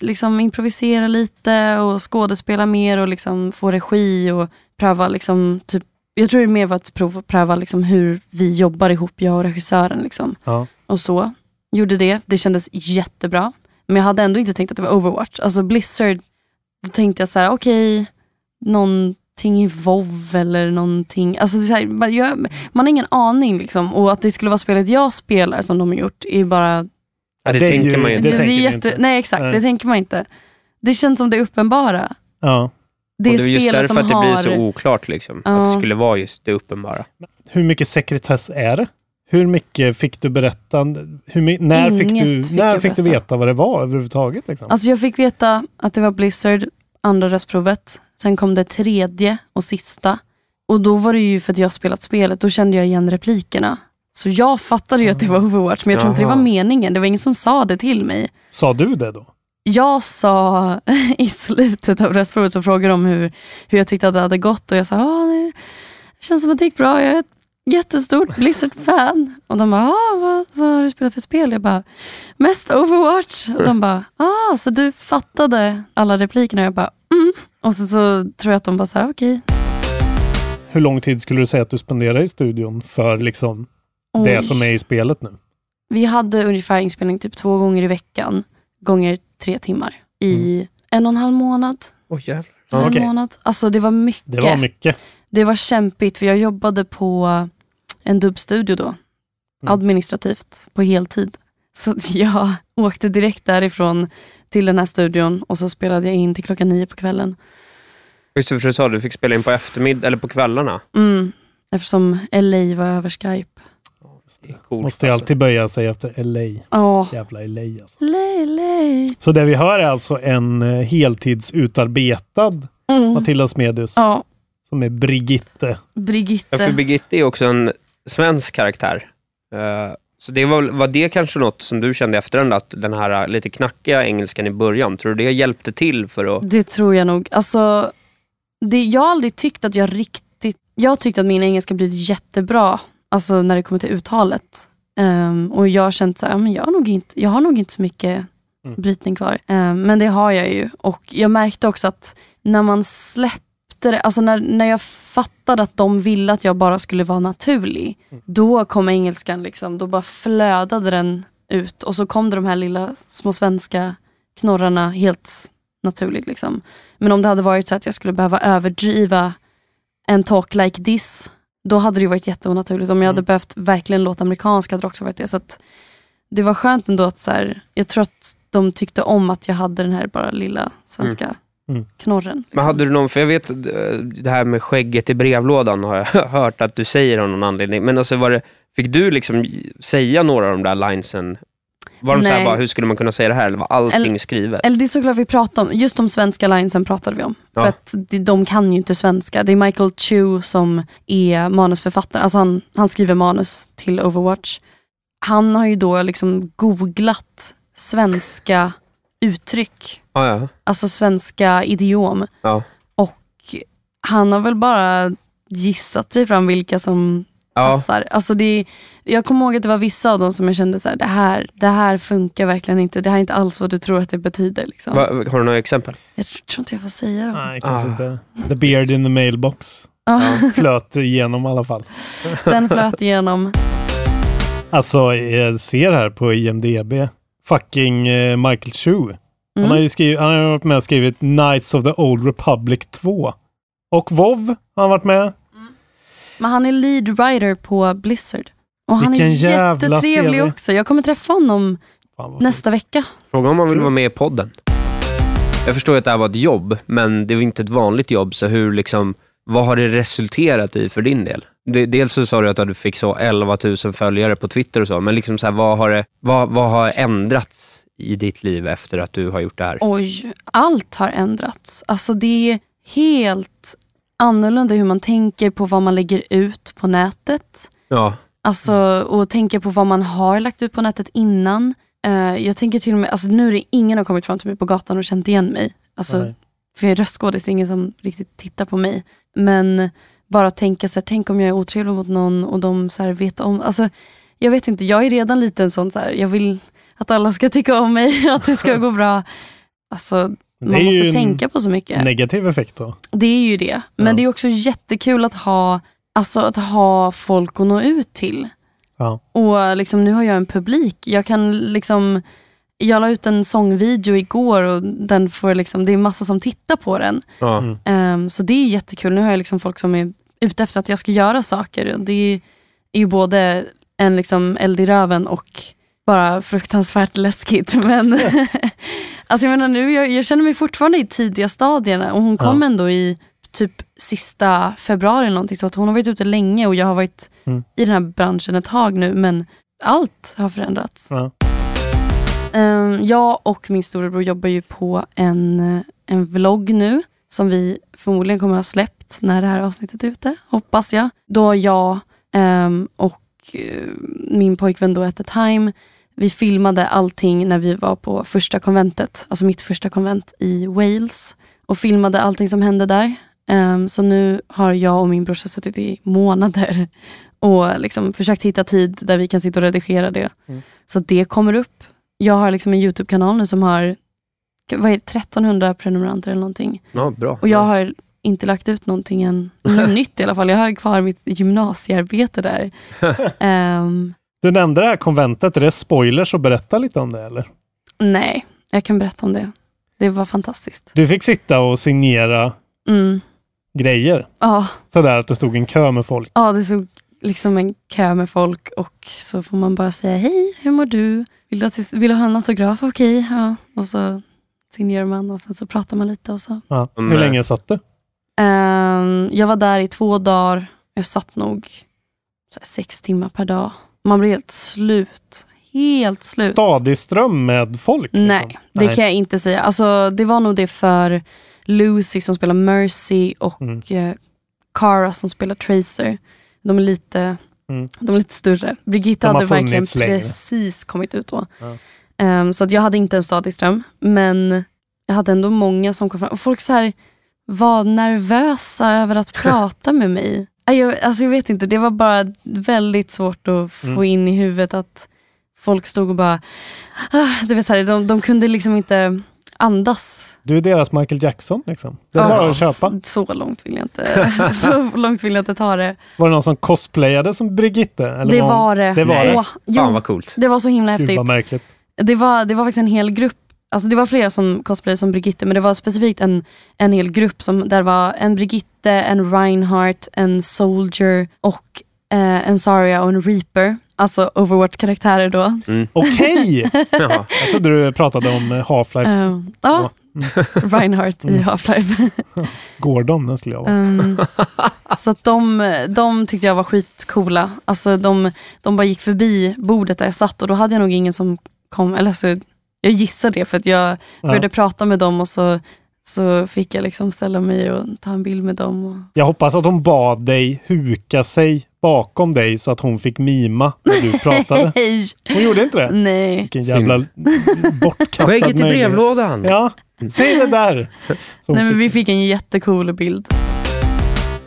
S4: liksom improvisera lite och skådespela mer och liksom få regi och pröva liksom typ jag tror det mer var ett prov att pröva liksom hur vi jobbar ihop, jag och regissören. Liksom
S2: Ja.
S4: och så. Gjorde det, det kändes jättebra. Men jag hade ändå inte tänkt att det var Overwatch. Alltså Blizzard, då tänkte jag så här: okej, någonting i WoW eller någonting. Alltså det är så här, man- jag, man har ingen aning liksom. Och att det skulle vara spelet jag spelar som de har gjort är ju bara...
S3: Ja, det,
S2: Det är
S3: tänker
S2: ju-
S3: man ju
S2: det
S3: inte.
S2: tänker
S4: är
S2: vi
S4: jätte,
S2: inte.
S4: Nej exakt,
S2: Nej.
S4: det tänker man inte. Det känns som det uppenbara.
S2: Ja.
S4: Det är,
S3: och det är just
S4: spelet
S3: därför
S4: som
S3: att det
S4: har...
S3: blir så oklart liksom. Att
S4: Ja.
S3: det skulle vara just det uppenbara.
S2: Hur mycket sekretess är det? Hur mycket fick du berätta? Hur my- när
S4: Inget
S2: fick, du,
S4: fick
S2: när
S4: jag
S2: fick du
S4: berätta.
S2: veta vad det var överhuvudtaget? Liksom?
S4: Alltså jag fick veta att det var Blizzard, andra röstprovet. Sen kom det tredje och sista. Och då var det ju för att jag spelat spelet, då kände jag igen replikerna. Så jag fattade ju att
S3: Mm.
S4: det var Overwatch, men jag tror inte det var
S2: Jaha.
S4: meningen. Det var ingen som sa det till mig.
S2: Sa du det då?
S4: Jag sa [LAUGHS] i slutet av röstprovet, så frågade de hur, hur jag tyckte att det hade gått och jag sa, ah, det känns som att det gick bra. Jag är ett jättestort Blizzard-fan. Och de bara, ah, vad, vad har du spelat för spel? Jag bara, mest Overwatch. Och de bara, ah, så du fattade alla replikerna? Jag bara, mm. Och så, så tror jag att de bara, så här, okej.
S2: Hur lång tid skulle du säga att du spenderar i studion för liksom det
S4: Oj.
S2: som är i spelet nu?
S4: Vi hade ungefär inspelning typ två gånger i veckan, gånger tre timmar i en och en halv månad.
S3: Åh jävlar.
S4: en
S2: Mm. Okej.
S4: månad. Alltså det var mycket.
S2: Det var mycket.
S4: Det var kämpigt för jag jobbade på en dubbstudio då. Administrativt på heltid. Så att jag [LAUGHS] åkte direkt därifrån till den här studion och så spelade jag in till klockan nio på kvällen.
S3: Just det, för du sa du fick spela in på eftermiddag eller på kvällarna.
S4: Mm. Eftersom LA var över Skype.
S3: Coolt,
S2: Måste ju alltid böja sig efter LA.
S4: Ja.
S2: Jävla LA alltså.
S4: Lej, lej.
S2: Så det vi hör är alltså en eh, heltidsutarbetad
S4: Mm.
S2: Matilda Smedhus.
S4: Ja.
S2: Som är Brigitte.
S4: Brigitte.
S3: Ja, för Birgitte är också en svensk karaktär. Eh, Så det var, väl- var det kanske något som du kände i efterhand, att den här eh, lite knackiga engelskan i början, tror du det hjälpte till för att...
S4: Det tror jag nog. Alltså, det, jag har aldrig tyckt att jag riktigt... Jag tyckte att min engelska blivit jättebra, alltså när det kommer till uttalet. Ehm, och jag har känt så här, "Ja, men jag har nog inte, jag har nog inte så mycket brytning kvar. Ehm, men det har jag ju. Och jag märkte också att när man släppte det, alltså när, när jag fattade att de ville att jag bara skulle vara naturlig, då kom engelskan liksom, då bara flödade den ut. Och så kom det de här lilla små svenska knorrarna helt naturligt. Liksom. Men om det hade varit så att jag skulle behöva överdriva en talk like this, då hade det ju varit jätteonaturligt. Om jag
S3: Mm.
S4: hade behövt verkligen låta amerikansk hade det också varit det. Så att det var skönt ändå att så här, jag tror att de tyckte om att jag hade den här bara lilla svenska
S3: Mm.
S4: knorren. liksom.
S3: Men hade du någon, för jag vet eh, det här med skägget i brevlådan har jag [LAUGHS] hört att du säger av någon anledning, men alltså var det, fick du liksom säga några av de där linesen? Var de såhär
S4: Nej.
S3: bara, hur skulle man kunna säga det här? Eller var allting
S4: Eller-
S3: skrivet?
S4: Eller det är såklart vi pratar om, just de svenska linesen pratade vi om.
S3: Ja.
S4: För att de, de kan ju inte svenska. Det är Michael Chu som är manusförfattare, alltså han, han skriver manus till Overwatch. Han har ju då liksom googlat svenska uttryck,
S3: Ja, ja.
S4: alltså svenska idiom.
S3: ja.
S4: Och han har väl bara gissat sig fram vilka som
S3: Ja.
S4: passar. Alltså det, jag kommer ihåg att det var vissa av dem som jag kände så här, det här, det här funkar verkligen inte. Det här är inte alls vad du tror att det betyder. Liksom.
S3: Va, har du några exempel?
S4: Jag tror inte jag får säga dem.
S2: Nej,
S3: Ah.
S2: kanske inte. The beard in the mailbox.
S4: Ja.
S2: Flöt igenom i alla fall.
S4: [LAUGHS] Den flöt igenom.
S2: Alltså, jag ser här på IMDB. Fucking eh, Michael Chu. Han
S4: Mm.
S2: har ju skrivit, han har varit med och skrivit Knights of the Old Republic 2. Och WoW har han varit med.
S4: Men han är lead writer på Blizzard. Och han är
S2: Vilken jävla
S4: jättetrevlig
S2: CV.
S4: också. Jag kommer träffa honom nästa vecka.
S3: Fråga om han vill vara med i podden. Jag förstår ju att det här var ett jobb, men det var inte ett vanligt jobb, så hur liksom, vad har det resulterat i för din del? Det- Dels så sa du att du fick så 11 000 följare på Twitter och så, men liksom så här, vad, har det, vad, vad har ändrats i ditt liv efter att du har gjort det här?
S4: Oj, allt har ändrats. Alltså det är helt annorlunda hur man tänker på vad man lägger ut på nätet.
S3: Ja,
S4: Alltså,
S2: Mm.
S4: och tänka på vad man har lagt ut på nätet innan. Eh, jag tänker till och med, alltså nu är det ingen som har kommit fram till mig på gatan och känt igen mig. Alltså,
S6: Nej.
S4: för jag är röstskådis, det är ingen som riktigt tittar på mig. Men bara tänka så här, tänk om jag är otrevlig mot någon och de så här vet om, alltså jag vet inte, jag är redan lite en sån så här, jag vill att alla ska tycka om mig, [LAUGHS] att det ska gå bra. Alltså,
S2: Det är
S4: man
S2: ju
S4: måste
S2: en
S4: tänka på så mycket.
S2: Negativ effekt då.
S4: Det är ju det. Men det är också jättekul att ha, alltså att ha folk att nå ut till.
S2: Ja.
S4: Och liksom, nu har jag en publik. Jag kan liksom, jag la ut en sångvideo igår och den får liksom, det är massa som tittar på den.
S3: ja.
S4: Ehm, så det är jättekul. Nu har jag liksom folk som är ute efter att jag ska göra saker. Och Det är, är ju både en liksom eld i röven och bara fruktansvärt läskigt. Men alltså jag menar nu, jag, jag känner mig fortfarande i tidiga stadierna och hon kom
S6: Ja.
S4: ändå i typ sista februari eller någonting. Så att hon har varit ute länge och jag har varit
S6: Mm.
S4: i den här branschen ett tag nu. Men allt har förändrats.
S2: Ja.
S4: Ehm, jag och min storebror jobbar ju på en, en vlogg nu, som vi förmodligen kommer att ha släppt när det här avsnittet är ute, hoppas jag. Då jag ehm, och eh, min pojkvän då at the time, vi filmade allting när vi var på första konventet, alltså mitt första konvent i Wales, och filmade allting som hände där. Ehm, så nu har jag och min brorsa suttit i månader [LAUGHS] och liksom försökt hitta tid där vi kan sitta och redigera det. Så att det kommer upp. Jag har liksom en YouTube-kanal nu som har vad är det, 1300 prenumeranter eller någonting.
S3: ja bra.
S4: Och jag har inte lagt ut någonting än, inget nytt i alla fall. Jag har kvar mitt gymnasiearbete där. Ehm,
S2: Du nämnde det här konventet. Är det spoilers att berätta lite om det eller?
S4: nej, jag kan berätta om det. Det var fantastiskt.
S2: Du fick sitta och signera
S4: Mm.
S2: grejer.
S4: Ja,
S2: Sådär att det stod en kö med folk.
S4: ja, det såg liksom en kö med folk och så får man bara säga hej, hur mår du? Vill du, att, vill du ha en autograf? Okej, ja. Och så signerar man och sen så pratar man lite och så
S2: Ja.
S3: Mm.
S2: Hur länge satt du?
S4: Ehm, jag var där i två dagar. Jag satt nog så här, sex timmar per dag. Man blir helt slut. Helt slut.
S2: Stadig ström med folk? liksom.
S4: Nej, det
S2: Nej.
S4: kan jag inte säga. Alltså, det var nog det för Lucy som spelar Mercy och eh, Cara som spelar Tracer. De är lite,
S2: Mm.
S4: de är lite större. Birgitta
S2: De har
S4: hade verkligen
S2: funnits länge.
S4: precis kommit ut då.
S2: Ja.
S4: Ehm, så att jag hade inte en stadig ström, men jag hade ändå många som kom fram. Och folk så här var nervösa
S2: [LAUGHS]
S4: över att prata med mig. Nej, Jag, alltså jag vet inte, det var bara väldigt svårt att få
S6: Mm.
S4: in i huvudet att folk stod och bara... Ah, det var så här, de, de kunde liksom inte andas.
S2: Du är deras Michael Jackson liksom. Det är
S4: Ja.
S2: bara att köpa.
S4: Så långt vill
S2: [LAUGHS]
S4: jag inte, så långt vill jag inte ta det.
S2: Var det någon som cosplayade som Brigitte? Eller
S4: Det var det.
S2: Det var det.
S4: Åh, jo. Fan, vad coolt. Det var så himla
S2: Gud,
S4: häftigt.
S2: vad märkligt.
S4: Det var, det var faktiskt en hel grupp, alltså det var flera som cosplayade som Brigitte, men det var specifikt en, en hel grupp som, där var en Brigitte, en Reinhardt, en Soldier och eh, en Saria och en Reaper. Alltså Overwatch-karaktärer då.
S2: Mm.
S4: [LAUGHS]
S2: Okej! Jag trodde du pratade om eh, Half-Life
S4: Eh, ja,
S2: [LAUGHS]
S4: Reinhardt i
S2: Mm.
S4: Half-Life.
S2: Gordon, den skulle jag vara. [LAUGHS]
S4: Ehm, så att de, de tyckte jag var skitcoola. Alltså de, de bara gick förbi bordet där jag satt och då hade jag nog ingen som kom. Eller så, jag gissar det för att jag
S2: Ja.
S4: började prata med dem och så, så fick jag liksom ställa mig och ta en bild med dem. Och,
S2: Jag hoppas att hon bad dig huka sig bakom dig så att hon fick mima när du pratade.
S4: [LAUGHS] Nej.
S2: Hon gjorde inte det?
S4: Nej.
S2: Vilken jävla bortkastad
S3: Skägget i
S2: möjlighet.
S3: brevlådan.
S2: Ja, säg det där. Så
S4: Nej, men vi fick en jättecool bild.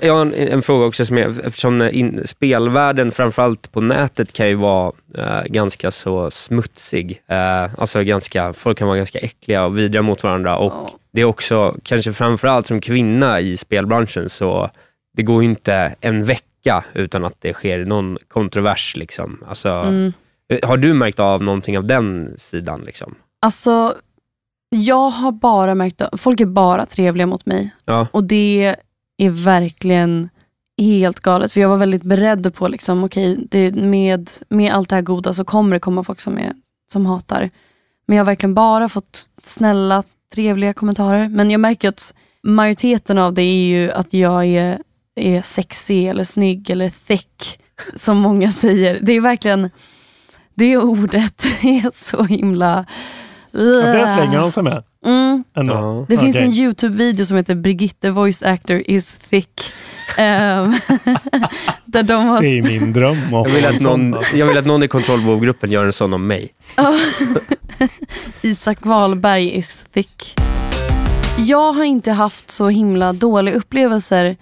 S3: Jag har en, en fråga också, som är, eftersom in, spelvärlden, framförallt på nätet, kan ju vara eh, ganska så smutsig. Eh, alltså ganska, folk kan vara ganska äckliga och vidriga mot varandra och det är också, kanske framförallt som kvinna i spelbranschen, så det går ju inte en vecka utan att det sker någon kontrovers. Liksom. Alltså,
S4: Mm.
S3: eh, Har du märkt av någonting av den sidan? Liksom?
S4: Alltså, jag har bara märkt att folk är bara trevliga mot mig.
S3: Ja.
S4: Och det är verkligen helt galet. För jag var väldigt beredd på, liksom, okej, det med, med allt det här goda så kommer det komma folk som, är, som hatar. Men jag har verkligen bara fått snälla, trevliga kommentarer. Men jag märker att majoriteten av det är ju att jag är, är sexig eller snygg eller thick, som många säger. Det är verkligen, det ordet [LAUGHS] är så himla...
S2: Ja, det slänger de sig med.
S4: Mm.
S2: Ändå.
S4: Det finns
S2: Okej.
S4: en YouTube-video som heter Brigitte Voice Actor is thick. Ehm, [LAUGHS] där de har...
S2: Det är min dröm.
S3: Jag vill, att någon, jag vill att någon i kontrollbovgruppen gör en sån om mig.
S4: Ja. [LAUGHS] Isak Wahlberg is thick. Jag har inte haft så himla dåliga upplevelser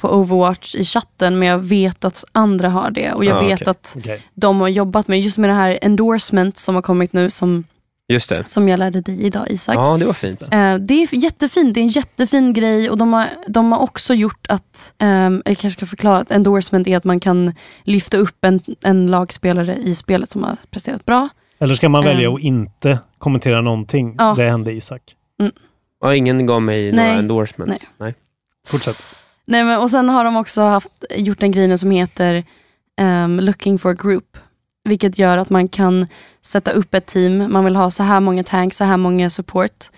S4: på Overwatch i chatten, men jag vet att andra har det. Och jag
S3: Ja,
S4: vet
S3: okej.
S4: att de har jobbat med, just med det här endorsement som har kommit nu, som,
S3: Just det.
S4: som jag lärde dig idag Isak.
S3: Ja, det var fint.
S4: Eh, det är jättefint, det är en jättefin grej och de har, de har också gjort att, ehm, jag kanske ska förklara, att endorsement är att man kan lyfta upp en, en lagspelare i spelet som har presterat bra.
S2: Eller ska man välja
S4: Ehm.
S2: att inte kommentera någonting?
S4: Ja.
S2: Det hände Isak.
S3: Ja, ingen gav mig
S4: Nej.
S3: några endorsements.
S4: Nej.
S2: Fortsätt.
S4: Nej, men, och sen har de också haft, gjort en grej nu som heter ehm, Looking for Group. Vilket gör att man kan sätta upp ett team. Man vill ha så här många tanks, så här många support.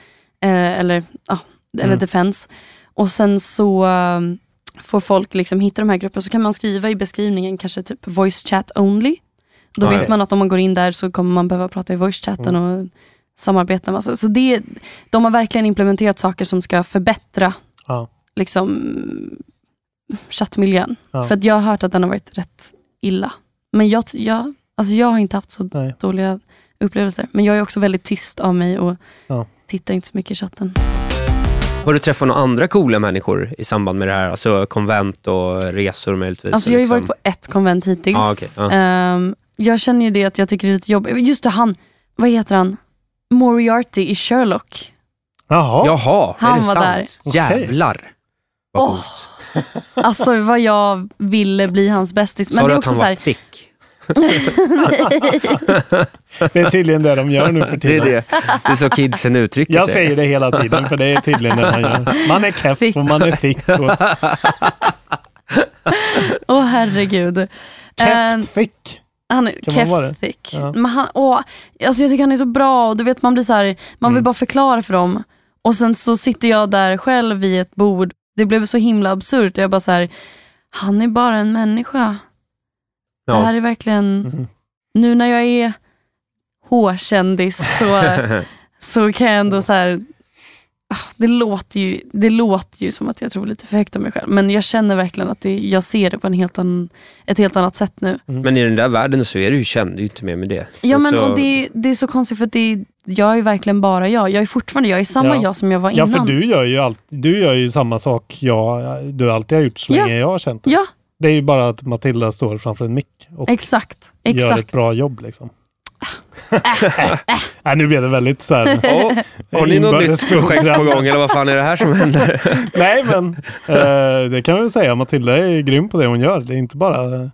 S4: eh, eller ja, eller
S6: Mm.
S4: defense. Och sen så ehm, får folk liksom hitta de här grupperna. Så kan man skriva i beskrivningen kanske typ voice chat only. Då
S6: Ah,
S4: vet
S6: ja.
S4: man att om man går in där så kommer man behöva prata i voice chatten
S2: Mm.
S4: och samarbeta. Med. alltså, Så, så det, de har verkligen implementerat saker som ska förbättra
S2: Ja.
S4: liksom chattmiljön.
S2: Ja.
S4: För att jag har hört att den har varit rätt illa. Men jag, jag, alltså jag har inte haft så
S2: Nej.
S4: dåliga upplevelser. Men jag är också väldigt tyst av mig och
S2: Ja.
S4: tittar inte så mycket i chatten.
S3: Har du träffat några andra coola människor i samband med det här? Alltså konvent och resor möjligtvis?
S4: Alltså jag har ju
S3: liksom.
S4: varit på ett konvent hittills.
S3: Ah, okej, ja.
S4: Ehm, jag känner ju det att jag tycker det är lite jobbigt. Just det, han, vad heter han? Moriarty i Sherlock.
S2: Jaha.
S3: Jaha, är
S4: Han
S3: det
S4: var
S3: sant?
S4: där.
S3: Jävlar. Vad
S4: Åh,
S3: coolt. [LAUGHS]
S4: Alltså vad jag ville bli hans bästis.
S3: Sa
S4: Men det
S3: du att
S4: är också
S3: han
S4: så
S3: var
S4: här,
S3: thick?
S2: Det är tydligen det de gör nu
S3: [LAUGHS]
S2: för
S3: Det
S2: tiden.
S3: är det. Det är så kidsen uttrycker
S2: Jag
S3: sig.
S2: säger det hela tiden, för det är tydligen det man gör. Man är keff och man är fick. Och...
S4: [LAUGHS] Åh herregud. Ehm, Keff
S2: fick.
S4: Han är
S2: Kan man vara det?
S4: keft fick.
S2: Ja.
S4: Men han, åh, alltså jag tycker han är så bra och du vet man blir så här, man
S2: Mm.
S4: vill bara förklara för dem. Och sen så sitter jag där själv vid ett bord. Det blev så himla absurt. Jag bara så här, han är bara en människa.
S3: Ja.
S2: Mm.
S4: Det här är verkligen, nu när jag är hårkändis så,
S2: [LAUGHS]
S4: så kan jag ändå så här, ah, det låter, ju, det låter ju som att jag tror lite för högt om mig själv, men jag känner verkligen att det, jag ser det på en helt annan, ett helt annat sätt nu.
S3: [LAUGHS] Men i den där världen så är du ju känd, det är ju inte mer med det.
S4: Ja men
S3: Alltså,
S4: och det, det är så konstigt för att det, jag är verkligen bara jag. Jag är fortfarande jag, är samma
S2: Ja.
S4: jag som jag var
S2: Ja,
S4: innan.
S2: för du gör ju, allt, du gör ju samma sak jag, du alltid har gjort så
S4: Ja.
S2: länge jag har känt dig.
S4: Ja,
S2: Det är ju bara att Matilda står framför en mick och
S4: exakt.
S2: gör ett
S4: exakt. Ah.
S2: bra jobb. Liksom. [LAUGHS] Nej, nu blev det väldigt så
S4: [LAUGHS]
S2: här...
S3: Ja, Har ni något nytt
S2: Inbördes
S3: projekt på
S2: konkurrens.
S3: gång eller vad fan är det här som händer? [LAUGHS]
S2: Nej, men eh, det kan vi väl säga. Matilda är grym på det hon gör. Det är inte bara...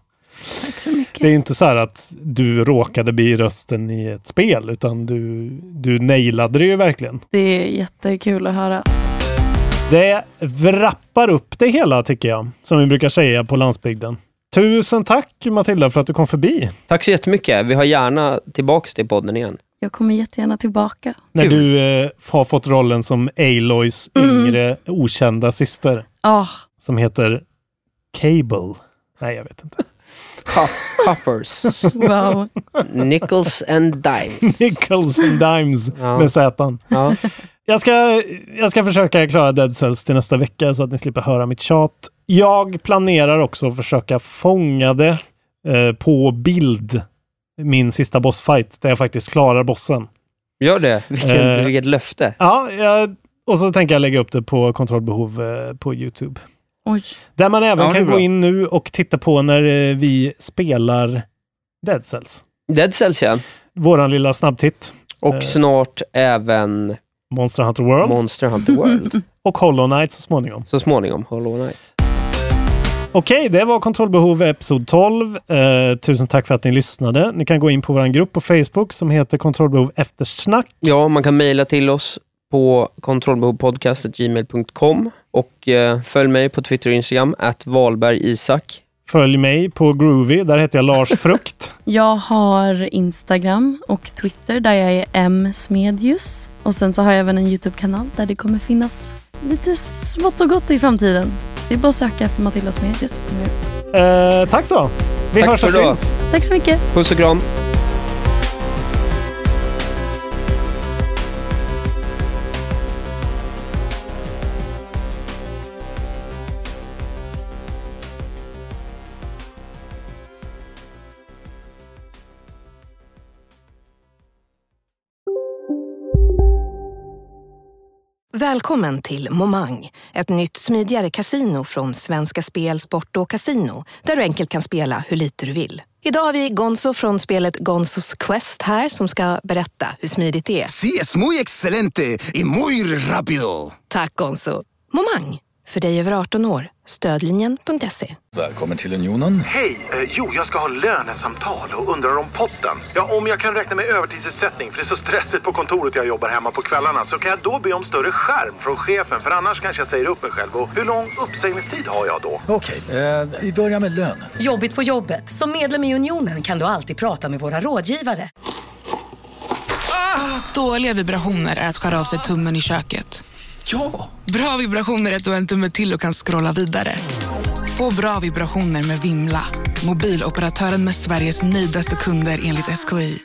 S4: Tack så mycket.
S2: Det är inte så här att du råkade bli rösten i ett spel, utan du, du nailade det ju verkligen.
S4: Det är jättekul att höra.
S2: Det vrappar upp det hela tycker jag, som vi brukar säga på landsbygden. Tusen tack Matilda för att du kom förbi.
S3: Tack så jättemycket. Vi har gärna tillbaks till podden igen.
S4: Jag kommer jättegärna tillbaka.
S2: När du eh, har fått rollen som Aloys
S4: Mm.
S2: yngre okända syster
S4: Ah,
S2: som heter Cable. Nej, jag vet inte. [LAUGHS]
S3: Coppers.
S4: wow.
S3: Nickels and Dimes.
S2: [LAUGHS] Nickels and Dimes
S3: Ja.
S2: med Zätan.
S3: Ja.
S2: Jag ska, jag ska försöka klara Dead Cells till nästa vecka så att ni slipper höra mitt tjat. Jag planerar också att försöka fånga det eh, på bild, min sista bossfight, där jag faktiskt klarar bossen.
S3: Gör det. Vilken,
S2: Eh.
S3: vilket löfte.
S2: Ja, jag, och så tänker jag lägga upp det på kontrollbehov eh, på Youtube.
S4: Oj.
S2: Där man
S3: Ja,
S2: även
S3: det är
S2: kan gå
S3: bra.
S2: in nu och titta på när eh, vi spelar Dead Cells.
S3: Dead Cells igen.
S2: Våran lilla snabbtitt, Eh.
S3: Och snart även
S2: Monster Hunter World
S3: Monster Hunter
S2: [LAUGHS]
S3: World.
S2: och Hollow Knight så småningom.
S3: Så småningom, Hollow Knight.
S2: Okej, det var kontrollbehov episod 12. Eh, tusen tack för att ni lyssnade. Ni kan gå in på vår grupp på Facebook som heter kontrollbehov eftersnack.
S3: Ja, man kan mejla till oss på kontrollbehovpodcastetgmail.com och eh, följ mig på Twitter och Instagram, att Valberg Isak.
S2: Följ mig på Groovy, där heter jag Lars
S3: [LAUGHS]
S2: Frukt.
S4: Jag har Instagram och Twitter där jag är M Smedjus. Och sen så har jag även en Youtube-kanal där det kommer finnas lite smått och gott i framtiden. Det är bara att söka efter Matilda Smedjus. så kommer det upp.
S2: Eh, tack då! Vi
S3: Tack
S2: hörs och
S3: för idag.
S2: syns!
S4: Tack så mycket.
S3: Puss och kram!
S6: Välkommen till Momang, ett nytt smidigare casino från Svenska Spel, Sport och Casino där du enkelt kan spela hur lite du vill. Idag har vi Gonzo från spelet Gonzos Quest här som ska berätta hur smidigt det är.
S7: Sí, es muy excelente y muy rápido.
S6: Tack Gonzo! Momang, för dig över 18 år. Stödlinjen.se.
S8: Välkommen till Unionen.
S9: Hej! Eh, jo, jag ska ha lönesamtal och undrar om potten. Ja, om jag kan räkna med övertidsersättning för det är så stressigt på kontoret jag jobbar hemma på kvällarna så kan jag då be om större skärm från chefen för annars kanske jag säger upp mig själv. Och hur lång uppsägningstid har jag då?
S7: Okej, eh, vi börjar med lön.
S10: Jobbigt på jobbet. Som medlem i Unionen kan du alltid prata med våra rådgivare.
S11: Ah, Dåliga vibrationer är att skära av sig tummen i köket.
S7: Ja!
S11: Bra vibrationer är att du har en tumme till och kan scrolla vidare. Få bra vibrationer med Vimla. Mobiloperatören med Sveriges nöjdaste kunder enligt SKI.